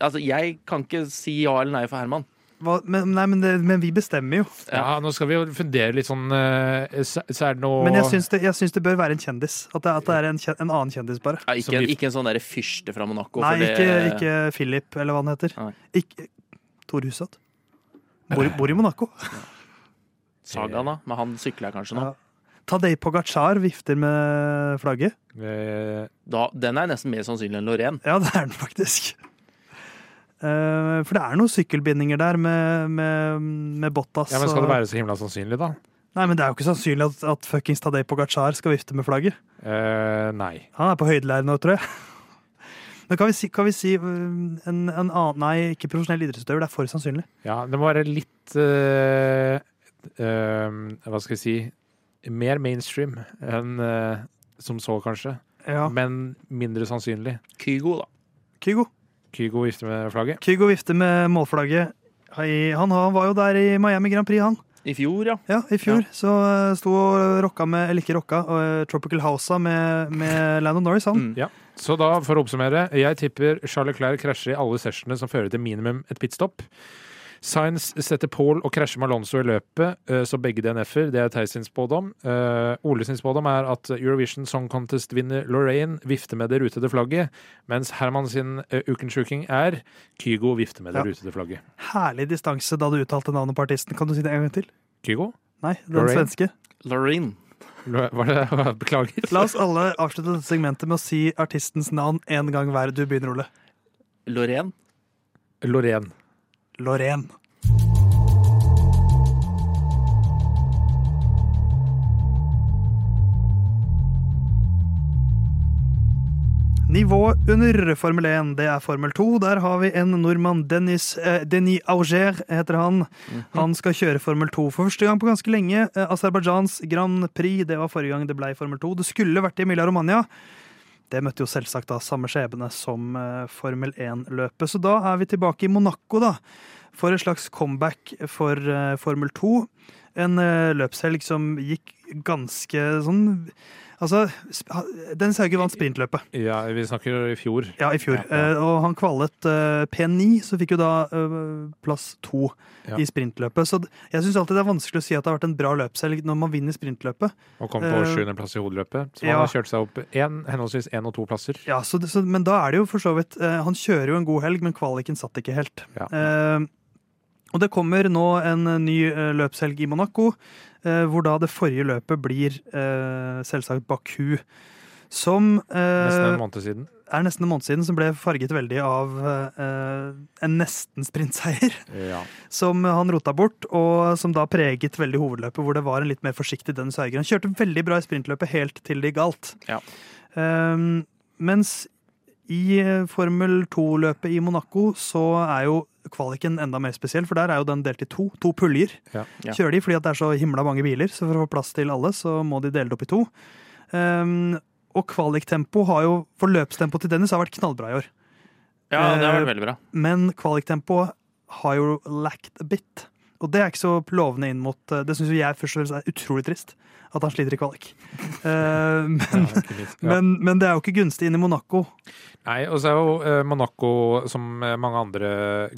Altså, jeg kan ikke si ja eller nei for Herman. Hva, men, nei, men, det, men vi bestemmer jo. Ja, Nå skal vi jo fundere litt sånn eh, Så så er det noe Men jeg syns det, jeg syns det bør være en kjendis. At det, at det er en, kjen, en annen kjendis, bare. Som Ja, ikke, en, vi- ikke en sånn derre fyrste fra Monaco. Nei, for det- ikke, ikke Philip, eller hva han heter. Nei. Ikke Tor Hushovd. Bor, i- bor i Monaco. Saga, da. Men han sykler jeg kanskje nå. Ja. Tadej Pogacar vifter med flagget. Eh, Da, den er nesten mer sannsynlig enn Lorraine. Ja, det er den faktisk. Eh, for det er noen sykkelbindinger der med, med, med Bottas. Ja, men Skal og- det være så himla sannsynlig, da? Nei, men Det er jo ikke sannsynlig at, at fuckings Tadej Pogacar skal vifte med flagget. Eh, nei. Han er på høydelære nå, tror jeg. Men kan vi si, kan vi si um, en, en annen Nei, ikke profesjonell idrettsutøver. Det er for sannsynlig. Ja, det må være litt eh, eh, Hva skal jeg si Mer mainstream enn eh, som så, kanskje. Ja. Men mindre sannsynlig. Kygo, da. Kygo. Kygo vifter med flagget. Kygo vifter med målflagget. I- Han, han var jo der i Miami Grand Prix, han. I fjor, ja. Ja, I fjor så uh, sto og rocka med Eller ikke rocka, uh, Tropical Housa med, med Landon Norris, han. Mm. Så da, for å oppsummere, jeg tipper Charles Leclerc krasjer i alle sessionene som fører til minimum et pitstop. Sainz setter Paul og krasjer med Alonso i løpet, eh, så begge DNF-er. Det er Theis sin spådom. Eh, Ole sin spådom er at Eurovision Song Contest-vinner Lorraine vifter med det rutete flagget, mens Herman sin uh, ukensjuking er Kygo vifter med det Ja. rutete flagget. Herlig distanse da du uttalte navnet på artisten. Kan du si det en gang til? Kygo? Nei, den Lorraine? svenske. Lorraine. Lo- Var det Beklager. La oss alle avslutte dette segmentet med å si artistens navn én gang hver. Du begynner, Ole. Lorraine. Lorraine. Lorraine. Nivået under Formel 1, det er Formel 2. Der har vi en nordmann, Dennis, eh, Denis Auger, heter han. Han skal kjøre Formel 2 for første gang på ganske lenge. Eh, Aserbajdsjans Grand Prix, det var forrige gang det ble Formel 2. Det skulle vært i Emilia Romagna. Det møtte jo selvsagt da samme skjebne som eh, Formel 1-løpet. Så da er vi tilbake i Monaco, da for et slags comeback for eh, Formel 2. En eh, løpshelg som gikk ganske sånn Altså, sp- ha- Dennis Hauge vant sprintløpet Ja, vi snakker i fjor. ja, i fjor, Ja, ja. Eh, og han kvalet eh, P9, så fikk jo da eh, plass to Ja. i sprintløpet. Så d- jeg syns alltid det er vanskelig å si at det har vært en bra løpshelg når man vinner sprintløpet. Og kom på Eh, sjuendeplass i hodeløpet. Så ja. han har kjørt seg opp en, henholdsvis én og to plasser. Ja, så, det- så, Men da er det jo for så vidt eh, Han kjører jo en god helg, men kvaliken satt ikke helt. Ja. Eh, og det kommer nå en ny eh, løpshelg i Monaco, eh, hvor da det forrige løpet blir eh, selvsagt Baku. Som Nesten eh, en måned siden. er nesten en måned siden, som ble farget veldig av eh, en nesten-sprintseier. Ja. som han rota bort, og som da preget veldig hovedløpet, hvor det var en litt mer forsiktig Dennis Hauger. Han kjørte veldig bra i sprintløpet helt til det galt. Ja. Ehm, mens i eh, Formel 2-løpet i Monaco så er jo kvaliken enda mer spesiell, for der er jo den delt i to. To puljer Ja. Ja. kjører de fordi at det er så himla mange biler, så for å få plass til alle så må de dele det opp i to. Ehm, og kvaliktempo har jo, for løpstempoet til Dennis har vært knallbra i år, Ja, det har vært veldig bra. men kvaliktempoet har jo lacked a bit. Og det er ikke så lovende inn mot eh, Det syns jeg først og fremst er utrolig trist. At han sliter i kvalik. Eh, men, Ja, ikke minst. Ja. men, men det er jo ikke gunstig inn i Monaco. Nei, og så er jo eh, Monaco, som eh, mange andre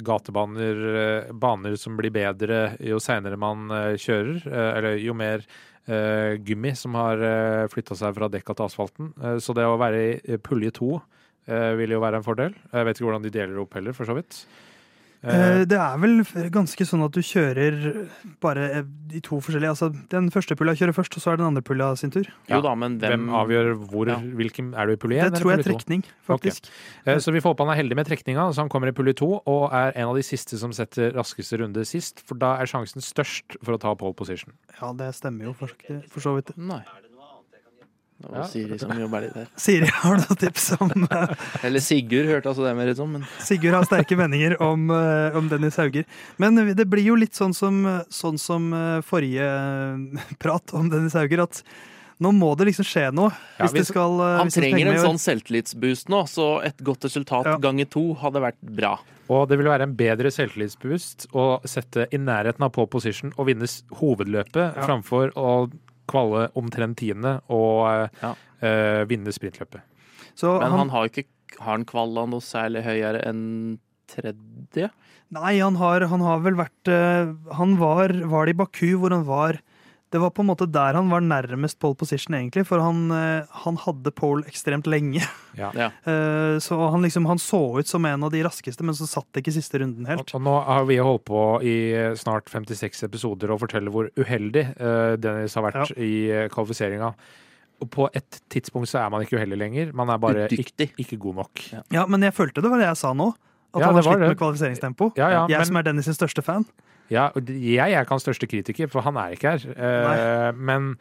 gatebaner, eh, baner som blir bedre jo seinere man eh, kjører, eh, eller jo mer eh, gummi som har eh, flytta seg fra dekka til asfalten. Eh, så det å være i eh, pulje to eh, vil jo være en fordel. Jeg vet ikke hvordan de deler opp heller, for så vidt. Eh, Eh, Det er vel f- ganske sånn at du kjører bare eh, de to forskjellige Altså den første pulja kjører først, og så er den andre pulja sin tur. Ja. Jo da, men hvem hvem, avgjør hvor, Ja. hvilken Er du i pulje Det 1 eller tror jeg pulje er 2? trekning, faktisk. Eh, Så vi får håpe han er heldig med trekninga, så han kommer i pulje to og er en av de siste som setter raskeste runde sist, for da er sjansen størst for å ta pole position. Ja, det stemmer jo for, for så vidt. Nei. Det var Ja. Siri som jobber litt her. Siri har noen tips om eh, Eller Sigurd hørte altså det mer ut som, men Sigurd har sterke meninger om, eh, om Dennis Hauger. Men det blir jo litt sånn som, sånn som eh, forrige eh, prat om Dennis Hauger, at nå må det liksom skje noe. Ja, hvis det hvis- skal eh, han hvis det skal trenger henge en med i år. sånn selvtillitsboost nå, så et godt resultat Ja. ganger to hadde vært bra. Og det vil være en bedre selvtillitsboost å sette i nærheten av pole position og vinne s- hovedløpet Ja. framfor å kvale omtrent tiende og eh, Ja. eh, vinne sprintløpet. Så Men han, han har jo ikke Har han kvalla noe særlig høyere enn tredje? Nei, han har, han har vel vært eh, Han var, var det i Baku hvor han var Det var på en måte der han var nærmest pole position, egentlig, for han, eh, han hadde pole ekstremt lenge. Ja. Ja. Eh, Så han liksom han så ut som en av de raskeste, men så satt ikke siste runden helt. Og, og nå har vi holdt på i snart 56 episoder å fortelle hvor uheldig eh, Dennis har vært i uh, kvalifiseringa. Og på et tidspunkt så er man ikke uheldig lenger, man er bare ikke, Udyktig. ikke god nok. Ja. Ja, men jeg følte det var det jeg sa nå. At Ja, han har det var slitt det. med kvalifiseringstempo. Ja, ja, jeg men- som er Dennis' sin største fan. Ja, og d- jeg er ikke hans største kritiker, for han er ikke her. Eh, men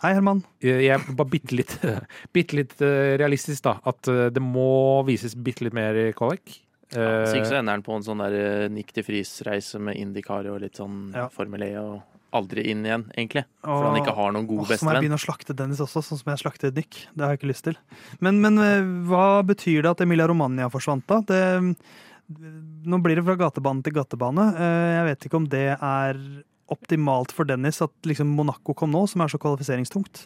Hei, Herman. eh, jeg er bare bitte litt, bitte litt eh, realistisk, da. At eh, det må vises bitte litt mer i kvalik. Eh, Så ikke så ender han på en sånn der eh, Nick de Vries-reise med Indikari og litt sånn Ja. Formel E og aldri inn igjen, egentlig. Og- For han ikke har noen Åh, god så må jeg bestevenn. begynne å slakte Dennis også, sånn som jeg slaktet Nick. Det har jeg ikke lyst til. Men, men eh, hva betyr det at Emilia Romagna forsvant, da? Det, nå blir det fra gatebane til gatebane. Eh, Jeg vet ikke om det er optimalt for Dennis at liksom Monaco kom nå, som er så kvalifiseringstungt.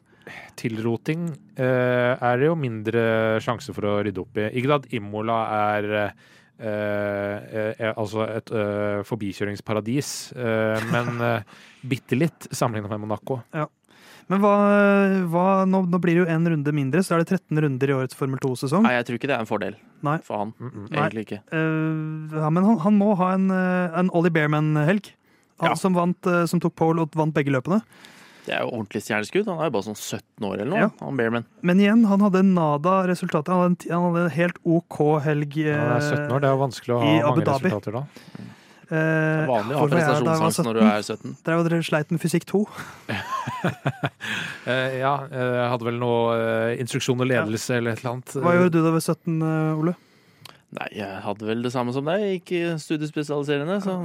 tilroting eh, er det jo mindre sjanse for å rydde opp i. Ikke at Imola er eh, eh, eh, altså et eh, forbikjøringsparadis, eh, men eh, bitte litt sammenlignet med Monaco. Men hva, hva nå, nå blir det jo én runde mindre, så er det 13 runder i årets Formel 2-sesong. Nei, jeg tror ikke det er en fordel Nei. for han. Mm -mm. Nei. Egentlig ikke. Eh, ja, men han, han må ha en, eh, en Ollie Bearman-helg. Han Ja. som, vant, eh, som tok pole og vant begge løpene. Det er jo ordentlig stjerneskudd. Han er jo bare sånn 17 år eller noe, Ja. han Bearman. Men igjen, han hadde nada resultater. Han hadde en, ti- han hadde en helt OK helg. eh, Han er 17 år, det er jo vanskelig å ha i Abu mange Dhabi. resultater da. Det eh, er vanlig å hvor ha var jeg da jeg var prestasjonsangst når du 17? er 17. Der var dere sleit med fysikk 2. Eh, ja, eh, jeg hadde vel noe eh, instruksjon og ledelse eller et eller annet. Hva gjorde du da du var 17, eh, Ole? Nei, jeg hadde vel det samme som deg. Ikke studiespesialiserende, så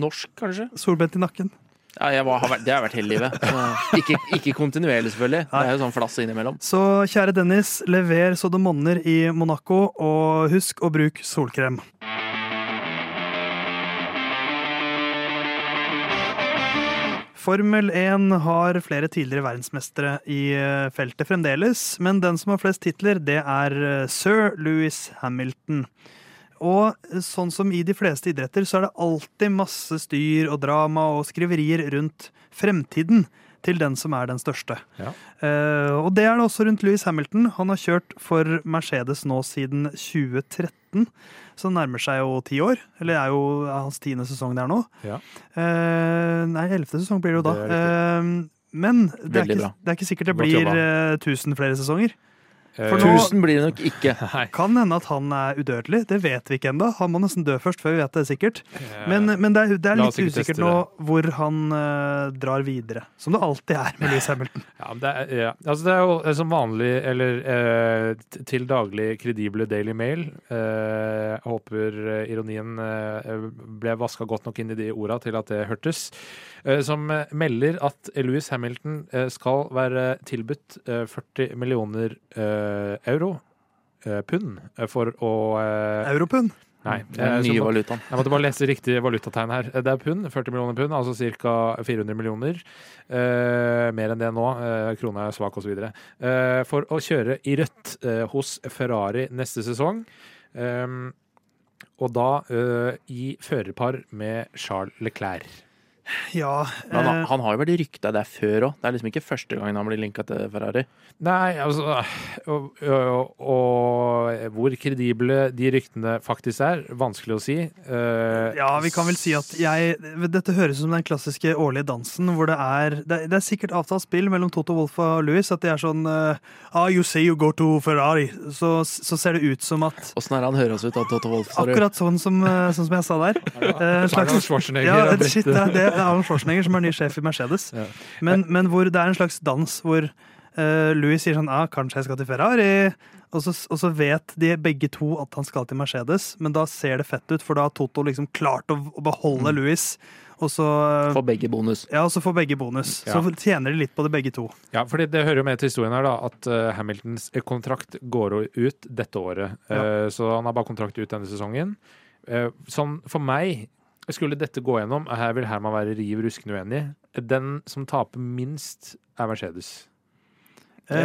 norsk, kanskje. Solbrent i nakken. Ja, jeg var, har vært, det har jeg vært hele livet. Så ikke, ikke kontinuerlig, selvfølgelig. Det er jo sånn flass innimellom. Så kjære Dennis, lever så det monner i Monaco, og husk å bruke solkrem. Formel 1 har flere tidligere verdensmestere i eh, feltet fremdeles, men den som har flest titler, det er eh, sir Louis Hamilton. Og eh, sånn som i de fleste idretter, så er det alltid masse styr og drama og skriverier rundt fremtiden til den som er den største. Ja. Eh, og det er det også rundt Louis Hamilton. Han har kjørt for Mercedes nå siden 2013, så han nærmer seg jo ti år. Eller er jo hans tiende sesong der nå. Ja. Eh, nei, ellevte sesong blir det jo da. Det Eh, men det er, Veldig ikke, bra. det er ikke sikkert det Godt blir jobba. eh, 1000 flere sesonger. Eh, For nå- Tusen blir det nok ikke. Nei. Kan hende at han er udødelig. Det vet vi ikke ennå. Han må nesten dø først før vi vet det sikkert. Eh, Men, men det er, det er La litt oss ikke teste usikkert nå hvor han eh, drar videre. Som det alltid er med Louis Hamilton. Ja, men det er, ja. altså det er jo eh, som vanlig, eller eh, t- til daglig kredible Daily Mail. Eh, jeg håper eh, ironien eh, ble vaska godt nok inn i de orda til at det hørtes. Eh, som eh, melder at Louis Hamilton eh, skal være tilbudt eh, 40 millioner eh, euro. eh, Pund eh, for å eh, Europund. Nei. Den Eh, så nye må- valutaen. Jeg måtte bare lese riktig valutategn her. Det er pund, 40 millioner pund, altså ca. 400 millioner. Eh, mer enn det nå. Eh, krona er svak osv. Eh, for å kjøre i rødt eh, hos Ferrari neste sesong. Ehm, og da eh, i førerpar med Charles Leclerc. Ja. Men han, eh, han har jo vært rykta der før òg. Det er liksom ikke første gangen han blir linka til Ferrari. Nei, altså og, og, og hvor kredible de ryktene faktisk er, vanskelig å si. Eh, ja, vi kan vel si at jeg Dette høres ut som den klassiske årlige dansen hvor det er Det, det er sikkert avtalt spill mellom Toto Wolff og Louis at de er sånn eh, ah, You say you go to Ferrari. Så, så ser det ut som at Åssen er det han høres ut av Toto Wolff? sa du? Akkurat sånn som, eh, sånn som jeg sa der. Eh, en slags Arnold Schwarzenegger Ja, har blitt- shit, det, er, det er Arnold Schwarzenegger som er ny sjef i Mercedes. Ja. Men, men hvor det er en slags dans hvor eh, Louis sier sånn ah, 'Kanskje jeg skal til Ferrari', og så, og så vet de begge to at han skal til Mercedes, men da ser det fett ut, for da har Toto liksom klart å, å beholde Louis, og så Får begge bonus. ja, og så får begge bonus. Ja. Så tjener de litt på det, begge to. Ja, fordi det hører jo med til historien her da, at eh, Hamiltons kontrakt går jo ut dette året. Ja. Eh, så han har bare kontrakt ut denne sesongen. Eh, sånn for meg, skulle dette gå gjennom, her vil Herman være riv ruskende uenig. Den som taper minst, er Mercedes. Ja,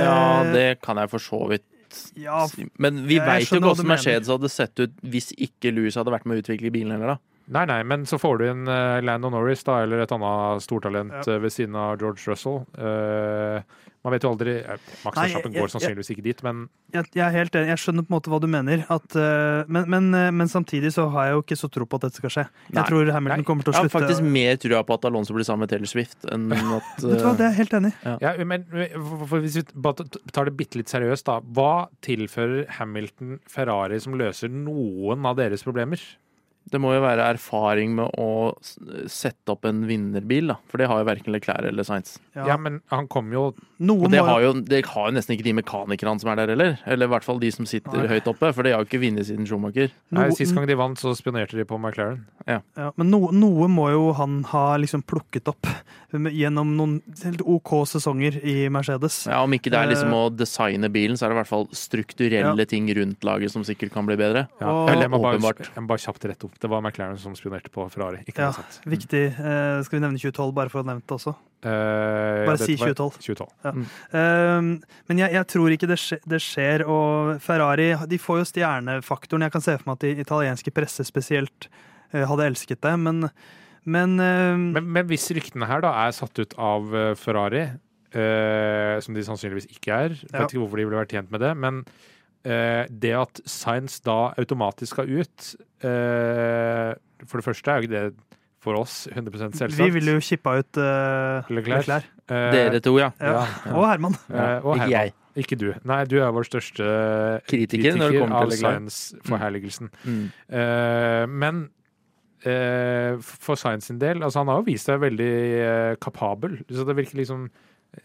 Eh, det kan jeg for så vidt ja, si. Men vi jeg veit jo skjønner ikke hva du åssen mener. Mercedes hadde sett ut hvis ikke Louis hadde vært med å utvikle bilen heller, da. Nei, nei, men så får du inn uh, Lando Norris, da, eller et annet stortalent Ja. eh, ved siden av George Russell. Eh, man vet jo aldri eh, Max Nei, Verstappen jeg- går jeg- sannsynligvis ikke dit, men jeg, jeg er helt enig. Jeg skjønner på en måte hva du mener. At, eh, men, men, eh, men samtidig så har jeg jo ikke så tro på at dette skal skje. Nei. Jeg tror Hamilton Nei. kommer til å Jeg har slutte. faktisk mer trua på at Alonso blir sammen med Taylor Swift enn at eh, Vet du hva, det er jeg helt enig. i. Ja, men for- for Hvis vi bare t- tar det bitte litt seriøst, da. Hva tilfører Hamilton Ferrari som løser noen av deres problemer? Det må jo være erfaring med å s- sette opp en vinnerbil, da. For det har jo verken Leclerc eller Sainz. Ja, men han kom jo Noen Og det må- har jo, det har jo nesten ikke de mekanikerne som er der heller. Eller i hvert fall de som sitter Nei. høyt oppe, for de har jo ikke vunnet siden Schumacher. nei, noen- Sist gang de vant, så spionerte de på McLaren. Ja, men no, noe må jo han ha liksom plukket opp med- gjennom noen helt OK sesonger i Mercedes. Ja, Om ikke det er liksom Eh. å designe bilen, så er det i hvert fall strukturelle Ja. ting rundt laget som sikkert kan bli bedre. Og- Eller jeg må bare, Åpenbart. jeg må bare kjapt rett opp. Det var McLaren som spionerte på Ferrari. Ikke Ja. noe sant. Viktig. Eh, skal vi nevne 2012, bare for å ha nevnt det også? Eh, Bare dette si var- 2012. 2012. Um, men jeg, jeg tror ikke det, skje, det skjer. Og Ferrari de får jo stjernefaktoren. Jeg kan se for meg at de italienske presse spesielt eh, hadde elsket det, men, men, um, Men, men hvis ryktene her da er satt ut av eh, Ferrari, eh, som de sannsynligvis ikke er, Ja. vet ikke hvorfor de ville vært tjent med det, men eh, det at Science da automatisk skal ut eh, For det første er jo ikke det for oss 100 selvsagt. vi ville jo kippa ut eh, Leclerc. Leclerc. Eh, Dere to, ja. Ja. Og Herman. eh, og ikke Herman. jeg. Ikke du. Nei, du er vår største Kritiker når det kommer til av Leclerc. Science-forherligelsen. Mm. Eh, men eh, for Science sin del altså Han har jo vist seg veldig eh, kapabel, så det virker liksom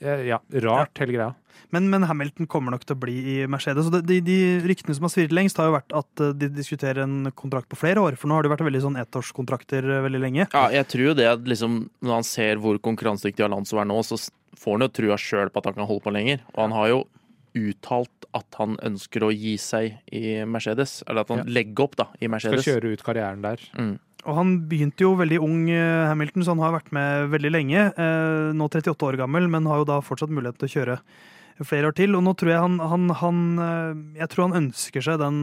eh, ja, rart, hele greia. Men, men Hamilton kommer nok til å bli i Mercedes. Og det- de, de ryktene som har svirret lengst, har jo vært at eh, de diskuterer en kontrakt på flere år. For nå har det vært veldig sånn ettårskontrakter eh, veldig lenge. Ja, jeg tror jo det at liksom, når han ser hvor konkurransedyktig Alonso er nå, så s- får han jo trua sjøl på at han kan holde på lenger. Og han har jo uttalt at han ønsker å gi seg i Mercedes. Eller at han Ja. legger opp da, i Skal Mercedes. kjøre ut karrieren der. Mm. Og han begynte jo veldig ung, eh, Hamilton, så han har vært med veldig lenge. Eh, nå 38 år gammel, men har jo da fortsatt mulighet til å kjøre flere år til. Og nå tror jeg han, han, han eh, Jeg tror han ønsker seg den,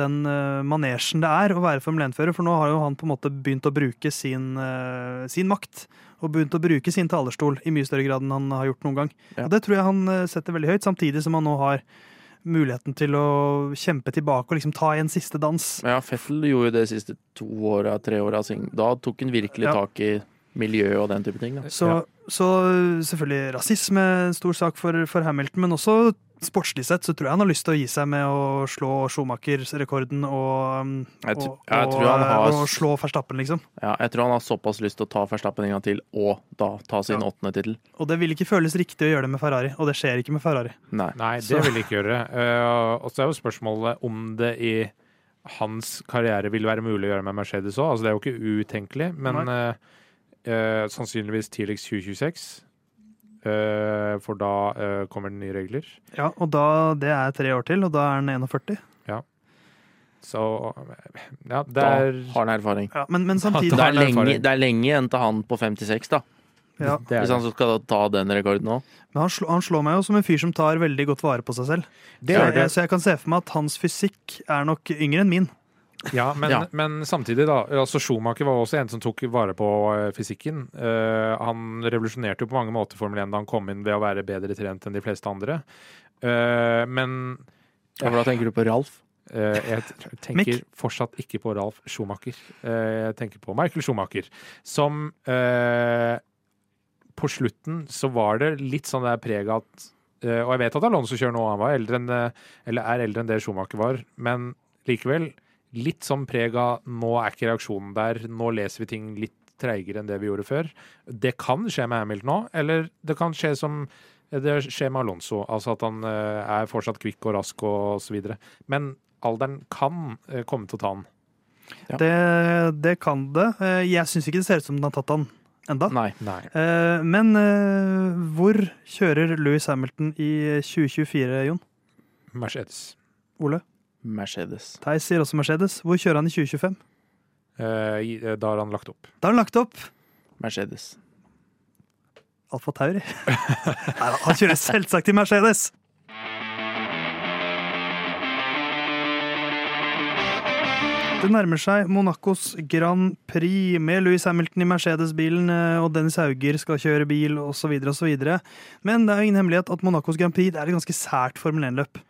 den eh, manesjen det er å være Formel 1-fører, for nå har jo han på en måte begynt å bruke sin, eh, sin makt. Og begynt å bruke sin talerstol i mye større grad enn han har gjort noen gang. Ja. Og det tror jeg han eh, setter veldig høyt, samtidig som han nå har muligheten til å kjempe tilbake og liksom ta en siste dans. Ja, Fettel gjorde jo det de siste to åra, tre åra. Da tok han virkelig Ja. tak i miljøet og den type ting. Da. Så, Ja. så selvfølgelig rasisme, en stor sak for, for Hamilton, men også sportslig sett så tror jeg han har lyst til å gi seg med å slå Schumacher-rekorden og, um, Jeg, tr og, jeg, tror han og, har, og slå Verstappen, liksom. ja, jeg tror han har såpass lyst til å ta Verstappen en gang til, og da ta sin Ja. åttende tittel. Og det vil ikke føles riktig å gjøre det med Ferrari, og det skjer ikke med Ferrari. Nei. Nei, det Så- vil de ikke gjøre. Eh, og så er jo spørsmålet om det i hans karriere vil være mulig å gjøre med Mercedes òg. Altså, det er jo ikke utenkelig, men eh, eh, sannsynligvis tidligst 2026. eh, for da eh, kommer det nye regler. Ja, Og da, det er tre år til, og da er han 41. Ja. Så ja, det Da er har han erfaring. Ja, men, men Det samtidig har han er, lenge, erfaring. det er lenge igjen til han på 56, da. ja. det er Hvis han skal ta den rekorden nå. Men han, slår, han slår meg jo som en fyr som tar veldig godt vare på seg selv. det så, er jeg, det. så jeg kan se for meg at hans fysikk er nok yngre enn min. Ja, men, Ja. men samtidig, da. Altså Schumacher var også en som tok vare på eh, fysikken. Eh, han revolusjonerte jo på mange måter Formel 1 da han kom inn ved å være bedre trent enn de fleste andre. Eh, men Ja, for da tenker du på Ralf. Eh, jeg t- tenker fortsatt ikke på Ralf Schumacher. Eh, jeg tenker på Michael Schumacher, som eh, på slutten så var det litt sånn der preg at eh, Og jeg vet at Alonso kjører nå, han var eldre enn, eh, eller er eldre enn det Schumacher var, men likevel litt sånn preg av nå er ikke reaksjonen der, nå leser vi ting litt treigere enn det vi gjorde før. Det kan skje med Hamilton nå, eller det kan skje som det skjer med Alonso, altså at han eh, er fortsatt kvikk og rask og så videre. Men alderen kan eh, komme til å ta han. Ja. Det, det kan det. Eh, Jeg syns ikke det ser ut som den har tatt han enda. Nei. Nei. Eh, Men eh, hvor kjører Louis Hamilton i 2024, Jon? Mercedes. Ole? Mercedes. Theis sier også Mercedes. Hvor kjører han i 2025? Eh, i- eh, da har han lagt opp. Da har han lagt opp Mercedes. Alfa Tauri. Nei, da, han kjører selvsagt i Mercedes! Det nærmer seg Monacos Grand Prix med Louis Hamilton i Mercedes-bilen, eh, og Dennis Hauger skal kjøre bil, osv., osv. Men det er jo ingen hemmelighet at Monacos Grand Prix det er et ganske sært Formel 1-løp.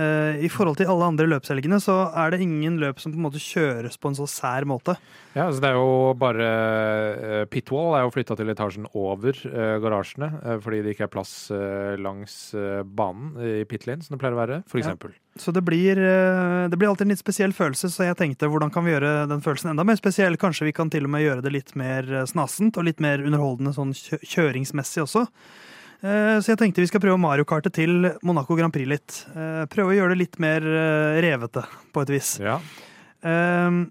Eh, I forhold til alle andre løpshelgene så er det ingen løp som på en måte kjøres på en så sær måte. Ja, så det er jo bare eh, Pitwall er jo flytta til etasjen over eh, garasjene eh, fordi det ikke er plass eh, langs eh, banen i pit lane, som det pleier å være, for Ja. eksempel. Så det blir, eh, det blir alltid en litt spesiell følelse, så jeg tenkte hvordan kan vi gjøre den følelsen enda mer spesiell? Kanskje vi kan til og med gjøre det litt mer eh, snasent og litt mer underholdende sånn kjø kjøringsmessig også. Eh, Så jeg tenkte vi skal prøve å Mario Kartet til Monaco Grand Prix litt. Eh, Prøve å gjøre det litt mer eh, revete, på et vis. Ja. Ehm,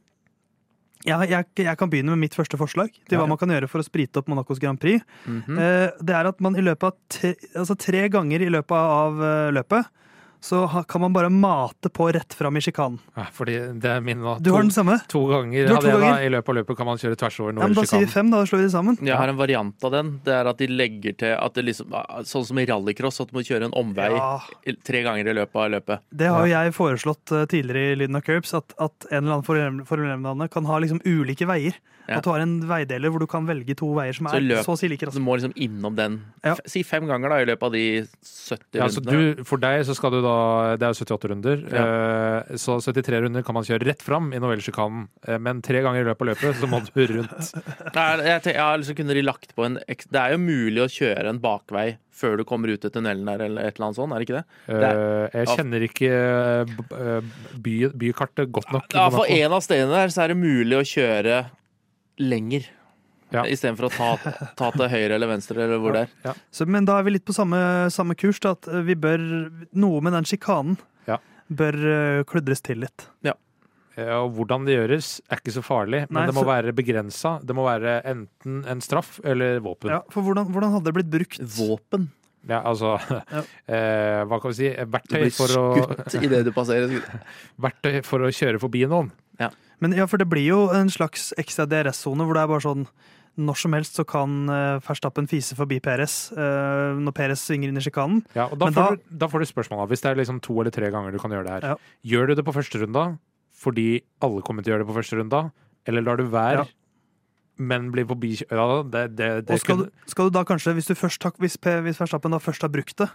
ja, jeg, jeg kan begynne med mitt første forslag til Ja, hva ja. man kan gjøre for å sprite opp Monacos Grand Prix. Mhm. Eh, Det er at man i løpet av tre, altså tre ganger i løpet av eh, løpet så ha- kan man bare mate på rett fram i sjikanen. Ja, Eh, Fordi det er min da. Du har den samme? to ganger Du har av to det da, ganger. i løpet av løpet kan man kjøre tvers over Ja, men da sier vi Nord-sjikanen. fem, da, og slår vi det sammen. Jeg har en variant av den. Det er at de legger til at det liksom Sånn som i rallycross, at du må kjøre en omvei Ja, i- tre ganger i løpet av løpet. det har jo jeg foreslått eh, tidligere i Lyden av Curbs, at, at en eller annen formel- Formel 1-bane kan ha liksom ulike veier. Ja. At du har en veideler hvor du kan velge to veier som Så er løp- så å si like Så raske. du må liksom innom den. Ja. F- Si fem ganger da i løpet av de 70 Ja, så rundene. du, for deg så skal du da Det er jo 78 runder. eh, Så 73 runder kan man kjøre rett fram i novellesjikanen. eh, Men tre ganger i løpet av løpet så må du rundt. Nei, jeg tenker, ja, liksom kunne de lagt på en ek- Det er jo mulig å kjøre en bakvei før du kommer ut til tunnelen der, eller et eller annet sånt, er det ikke det? Eh, Jeg kjenner ikke eh, b- eh, by, bykartet godt nok. i Ja, for Monaco. en av stedene der så er det mulig å kjøre lenger. Ja. Istedenfor å ta, ta til høyre eller venstre eller hvor det er. Ja. Så, men da er vi litt på samme, samme kurs, da, at eh, vi bør Noe med den sjikanen Ja. bør eh, kludres til litt. Eh, Og hvordan det gjøres, er ikke så farlig, men Nei, det må så- være begrensa. Det må være enten en straff eller våpen. Ja, Ja, for hvordan, hvordan hadde det blitt brukt? Våpen. altså eh, Hva kan vi si? Du Verktøy blir for, å, skutt idet du passerer. verktøy for å kjøre forbi noen. Men ja, for det blir jo en slags ekstra DRS-sone hvor det er bare sånn når som helst så kan uh, Verstappen fise forbi Peres når Peres svinger inn i sjikanen. Ja, og da, Men da- får du, da får du spørsmål av, hvis det er liksom to eller tre ganger du kan gjøre det her. Ja. Gjør du det på første runda fordi alle kommer til å gjøre det på første runda, eller lar du være, Ja. men blir forbi ja, det, det, det Og skal, kunne- du- skal du da kanskje, hvis, du først, har- hvis, P- hvis Verstappen da først har brukt det,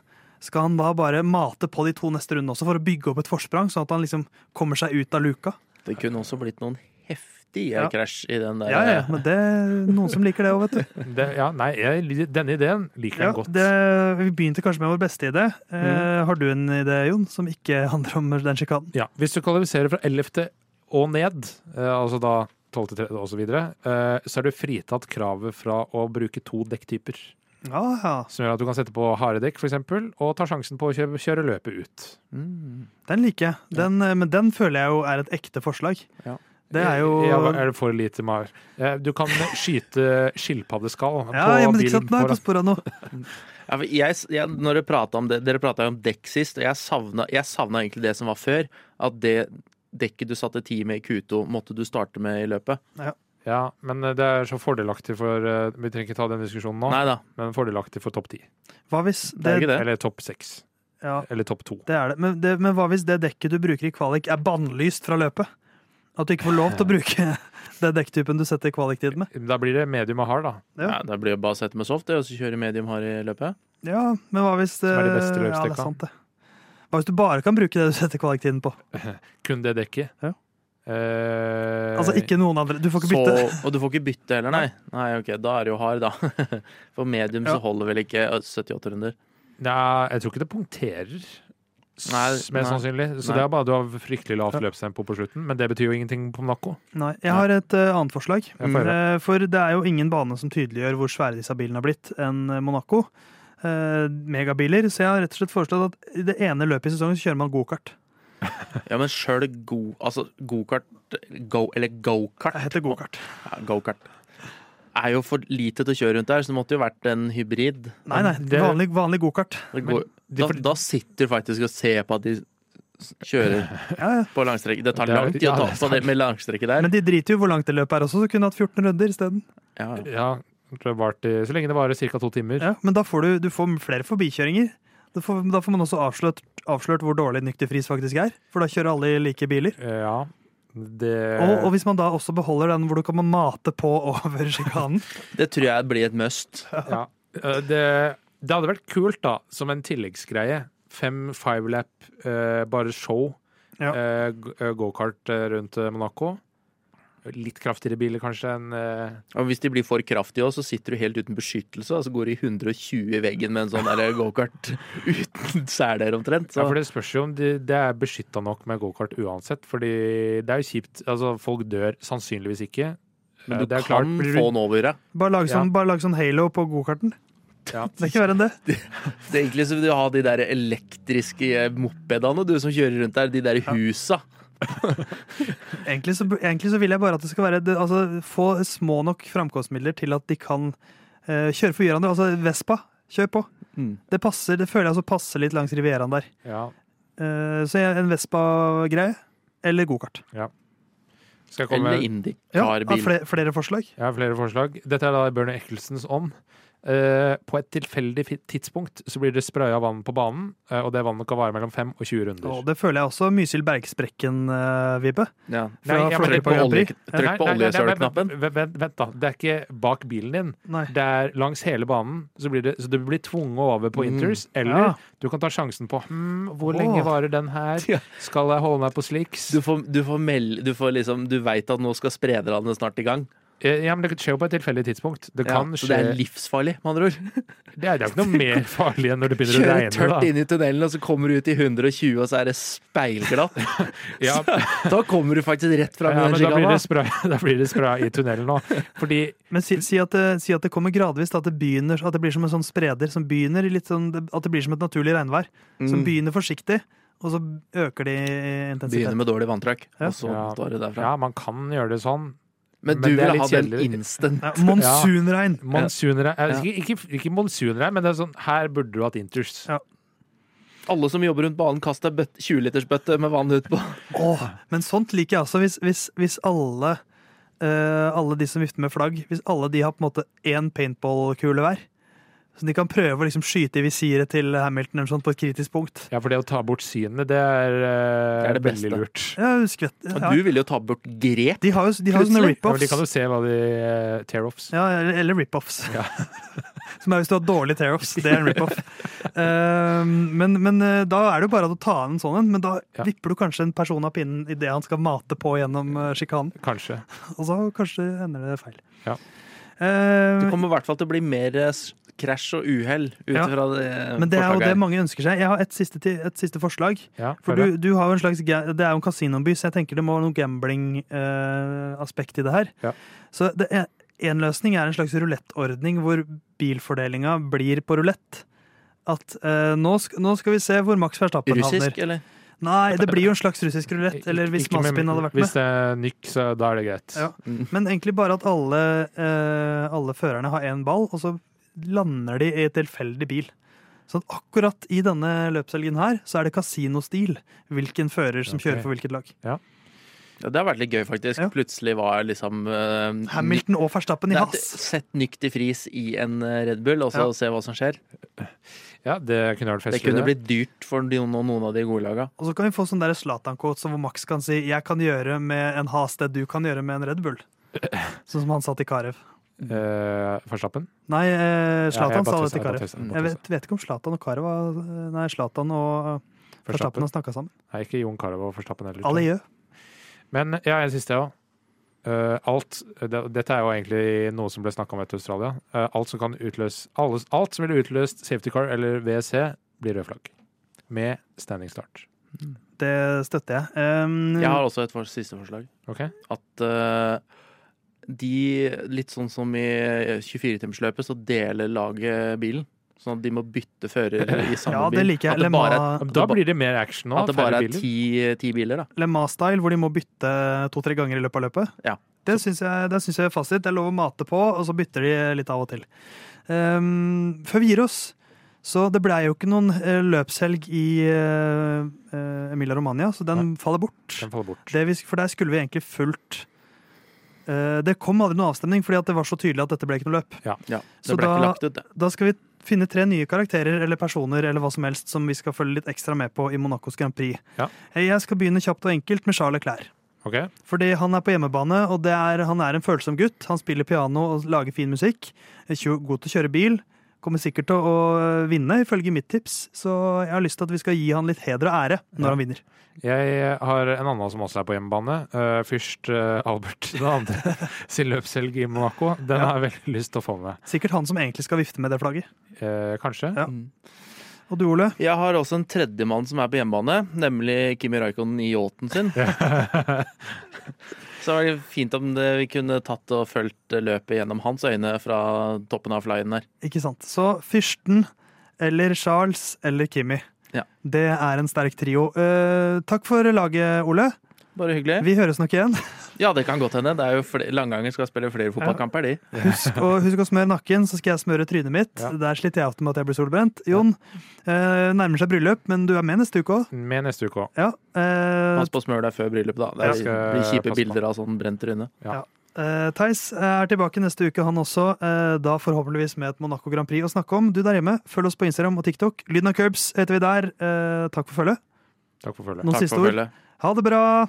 skal han da bare mate på de to neste rundene også for å bygge opp et forsprang, sånn at han liksom kommer seg ut av luka? Det kunne også blitt noen heftige Ja. krasj i den der. Ja, ja, men det er noen som liker det òg, vet du. det, ja, Nei, jeg, denne ideen liker jeg Ja, godt. Mm. det, vi begynte kanskje med vår beste idé. Eh, har du en idé, Jon, som ikke handler om den sjikanen? Ja, hvis du kvalifiserer fra 11. og ned, eh, altså da 12. til 13. og så videre, eh, så er du fritatt kravet fra å bruke to dekktyper. Ja, ja. Som gjør at du kan sette på harde dekk, for eksempel, og ta sjansen på å kjøre, kjøre løpet ut. Mm. Den liker jeg. Den, eh, Men den føler jeg jo er et ekte forslag. Ja. Det er jo Ja, hva- er det for lite, Mar? Eh, Du kan skyte skilpaddeskall Ja, ja, på men ikke bilen sant? Nå er jeg på foran. sporet av noe. Ja, for jeg, jeg, når dere prata om det, dere prata om dekk sist, og jeg savna, jeg savna egentlig det som var før. At det, dekket du satte ti med i Q2, måtte du starte med i løpet. Ja, men eh, det er så fordelaktig for eh, Vi trenger ikke ta den diskusjonen nå, Nei da. men fordelaktig for topp ti. Hva hvis Det er det, jo ikke det. Eller topp seks. ja, Eller topp to. det, er det. Men, det, men hva hvis det dekket du bruker i kvalik, er bannlyst fra løpet? At du ikke får lov til å bruke den dekktypen du setter kvaliktid med? Da blir det medium og hard, da. Ja. Nei, da blir det bare å sette med soft det, og så kjøre medium hard i løpet. Ja, men hva hvis er de beste eh, ja, det løpsdekka. er sant, det. Hva hvis du bare kan bruke det du setter kvaliktiden på? Kun det dekket. Ja. Eh, Altså ikke noen andre. Du får ikke Så, bytte. og du får ikke bytte heller, nei. Nei, ok, Da er det jo hard, da. For medium så Ja. holder vel ikke ø, 78 runder. Nei, jeg tror ikke det punkterer. s- Nei, Mest nei. sannsynlig. Så Nei. det er bare du har fryktelig lavt Ja. løpstempo på slutten. Men det betyr jo ingenting på Monaco. Nei, jeg har et eh, annet forslag. Jeg får høre. Eh, for det er jo ingen bane som tydeliggjør hvor svære disse bilene har blitt enn Monaco. Eh, megabiler. Så jeg har rett og slett foreslått at i det ene løpet i sesongen så kjører man gokart. Ja, men sjøl go... Altså, gokart go, Eller gokart. Jeg heter gokart. Ja, gokart. Er jo for lite til å kjøre rundt der, så det måtte jo vært en hybrid. Nei, nei, Det- vanlig, vanlig gokart. Det Men går, de da, for- da sitter du faktisk og ser på at de s- kjører Ja, ja. på langstrekk. Det tar Det er- lang tid ja, å ta det på det med langstrekket der. Men de driter jo i hvor langt det løpet er også, så kunne hatt 14 runder isteden. Ja, ja. Ja, jeg tror det varte, i- så lenge det varer ca. to timer. Ja, men da får du, du får flere forbikjøringer. Da får, da får man også avslørt, avslørt hvor dårlig nykterfris faktisk er, for da kjører alle i like biler. Eh, Ja, det Og, og hvis man da også beholder den hvor du kan mate på over sjikanen Det tror jeg blir et must. ja. Eh, det, det hadde vært kult, da, som en tilleggsgreie. Fem five-lap, eh, bare show. Ja. Eh, g- eh, Gokart eh, rundt eh, Monaco. Litt kraftigere biler, kanskje, enn eh, Og hvis de blir for kraftige også, så sitter du helt uten beskyttelse, og så går de 120 i veggen med en sånn der gokart uten seler omtrent. Ja, Så for Det spørs jo om de, det er beskytta nok med gokart uansett. Fordi det er jo kjipt. altså Folk dør sannsynligvis ikke. Eh, men du det er kan klart, blir du- få den over, ja. Bare lag sånn, Ja. bare lag sånn halo på gokarten. Ja. Det er ikke verre enn det. Så egentlig så vil du ha de der elektriske eh, mopedene, du som kjører rundt der, de der husa. Egentlig så, egentlig så vil jeg bare at det skal være det, altså, Få små nok framkomstmidler til at de kan eh, kjøre forbi hverandre. Altså Vespa, kjør på. Mm. Det passer, det føler jeg altså passer litt langs Rivieraen der. Ja. Eh, så jeg- en Vespa-greie. Eller gokart. Skal jeg komme Eller med Indy. Ja, har Klar bil. flere, flere forslag? Jeg har flere forslag. Dette er da i Bernie Ecclesons ånd. Eh, på et tilfeldig fi- tidspunkt så blir det spraya vann på banen, eh, og det vannet kan vare mellom 5 og 20 runder. Og det føler jeg også Mysil Bergsprekken-vibbe. Ja. fra Nei, jeg Florøy mener Trykk på, Grand olje, Prix. trykk på Nei, nei, nei, nei, oljesølknappen. vent, vent, vent, da. Det er ikke bak bilen din. Nei. Det er langs hele banen, så, blir det, så du blir tvunget over på Mm. inters. Eller Ja. du kan ta sjansen på hm, hvor Åh. lenge varer den her? Ja. Skal jeg holde meg på slicks? Du får, du får meld, du får liksom Du veit at nå skal sprederne snart i gang. Eh, Ja, men Det skjer jo på et tilfeldig tidspunkt. Det Ja, kan så skje det er livsfarlig, med andre ord. Det er jo ikke noe mer farlig enn når det begynner å Kjører regne. tørt inn i tunnelen, og så kommer du ut i 120, og så er det speilglatt. Da. Ja, Da kommer du faktisk rett fram. ja, i men den da blir sjikana. det spray, da blir det spray i tunnelen nå. Fordi Men si, si, at det, si at det kommer gradvis, at det, begynner, at det blir som en sånn spreder som begynner i litt sånn, At det blir som et naturlig regnvær. Som Mm. begynner forsiktig, og så øker de i Begynner intensitet. med dårlig vanntrykk, Ja. og så Ja. står det derfra. ja, man kan gjøre det sånn. Men Men du det er litt vil ha den kjedelig. instant. Ja, monsunregn! Monsunregn eh, Ja. Ikke, ikke, ikke monsunregn, men det er sånn her burde du hatt inters. Ja. Alle som jobber rundt banen, kast ei 20-litersbøtte med vann utpå. Åh, men sånt liker jeg også. Hvis, hvis, hvis alle eh, Alle de som vifter med flagg, hvis alle de har på en måte én paintballkule hver, så de kan prøve å liksom skyte i visiret til Hamilton eller sånt på et kritisk punkt. Ja, for det å ta bort synene, det er, eh, Det er det beste. veldig lurt. Ja, skvett. Og Ja. Du vil jo ta bort grep. De har jo, de har jo sånne Plutselig. Ja, men de kan rip-offs. jo se hva de eh, tear-offs. Ja, eller eller rip-offs. Som er hvis du har dårlige tear-offs. Det er en rip-off. Eh, men, men eh, da er det jo bare å ta en sånn en, men da Ja. vipper du kanskje en person av pinnen idet han skal mate på gjennom eh, sjikanen. Kanskje. Og så kanskje ender det feil. Ja. Eh, Det kommer i hvert fall til å bli mer eh, s- krasj og uhell ut Ja. ifra det. men det er jo forslaget det her. mange ønsker seg. Jeg har et siste, ti- et siste forslag. Ja, For hør du, du har jo en slags, ga- Det er jo en kasinoby, så jeg tenker det må være noe gambling-aspekt i det her. Ja. Så det er, en løsning er en slags rulettordning hvor bilfordelinga blir på rulett. At eh, nå, sk nå skal vi se hvor Max Verstappen Russisk, havner. eller? Nei, det blir jo en slags russisk rulett. Eller hvis Ikke med- Maspin hadde vært med. Hvis det er Nyk, så da er det greit. Ja. Mm. Men egentlig bare at alle, eh, alle førerne har én ball, og så lander de i en tilfeldig bil. Så at akkurat i denne løpshelgen her, så er det kasinostil hvilken fører som Ok. kjører for hvilket lag. Ja, det har vært litt gøy, faktisk. Ja. Plutselig var jeg liksom eh, Hamilton og Verstappen i Nei, has. Sett nykt i fris i en eh, Red Bull, og så Ja. se hva som skjer. Ja, det kunne vært Det festlig. kunne det. blitt dyrt for de- noen, noen av de gode laga. Og så kan vi få sånn der Zlatan-quote som hvor Max kan si 'jeg kan gjøre med en has det du kan gjøre med en Red Bull'. Sånn som han sa til Karev. Eh, Verstappen? Nei, eh, Zlatan Ja, jeg bare sa det tøyser, til jeg bare Karev. tøyser, jeg bare Jeg tøyser. vet, vet ikke om Zlatan og Karev har Nei, Zlatan og Verstappen har snakka sammen. Nei, ikke Jon Carew og Forstappen heller. tror jeg. Alieu. Men ja, en siste, ja. Eh, alt, det, dette er jo egentlig noe som ble snakka om etter Australia. Eh, alt som kan utløse alle, Alt som ville utløst safety car eller WC, blir rød flagg. Med standing start. Det støtter jeg. Um, Jeg har også et for, siste forslag. OK? At eh, de, litt sånn som i 24-timersløpet, så deler laget bilen. Sånn at de må bytte fører i samme Ja, bil. det liker jeg. At det bare, Lemma- at det Da ba- blir det mer action nå. at det færre bare er biler. ti, ti biler, da. Lemma-style, hvor de må bytte to-tre ganger i løpet av løpet. Ja. Det syns jeg, det syns jeg er fasit. Det er lov å mate på, og så bytter de litt av og til. Ehm, før vi gir oss, så det blei jo ikke noen eh, løpshelg i eh, eh, Emilia Romania, så den faller bort. Den faller bort. Det vi, for der skulle vi egentlig fulgt eh, Det kom aldri noen avstemning, fordi at det var så tydelig at dette ble ikke noe løp. Ja, Så det ble da- ikke lagt ut, det. Da skal vi finne tre nye karakterer eller personer eller hva som helst som vi skal følge litt ekstra med på i Monacos Grand Prix. Ja. Jeg skal begynne kjapt og enkelt med Charles Leclerc. OK? Fordi han er på hjemmebane, og det er, han er en følsom gutt. Han spiller piano og lager fin musikk. Er kjo- God til å kjøre bil. Kommer sikkert til å øh, vinne, ifølge mitt tips. Så jeg har lyst til at vi skal gi han litt heder og ære når Ja. han vinner. Jeg har en annen som også er på hjemmebane. Eh, først eh, Albert, den andre sin løpshelg i Monaco. Den har jeg veldig lyst til å få med. Sikkert han som egentlig skal vifte med det flagget. Eh, kanskje. Ja. Mm. Og du, Ole? Jeg har også en tredjemann som er på hjemmebane, nemlig Kimi Raikkonen i yachten sin. Så det var fint om det, vi kunne tatt og fulgt løpet gjennom hans øyne fra toppen av flyen der. Ikke sant. Så fyrsten eller Charles eller Kimi. Ja. Det er en sterk trio. Eh, takk for laget, Ole. Bare hyggelig. Vi høres nok igjen. Ja, det kan godt hende. Det er jo fl- Langanger skal spille flere fotballkamper, de. Husk, å- husk å smøre nakken, så skal jeg smøre trynet mitt. Ja. Der sliter jeg ofte med at jeg blir solbrent. Jon, eh, nærmer seg bryllup, men du er med neste uke òg. Med neste uke òg. Ja. Eh, Pass på å smøre deg før bryllupet, da. Det Jeg er- skal blir kjipe passe på. bilder av sånn brent tryne. eh, Theis er tilbake neste uke, han også. Eh, da forhåpentligvis med et Monaco Grand Prix å snakke om. Du der hjemme, følg oss på Instagram og TikTok. Lyden av curbs heter vi der. Eh, takk for følget. Takk for følget. Noen Takk siste for ord? følget. Ha det bra!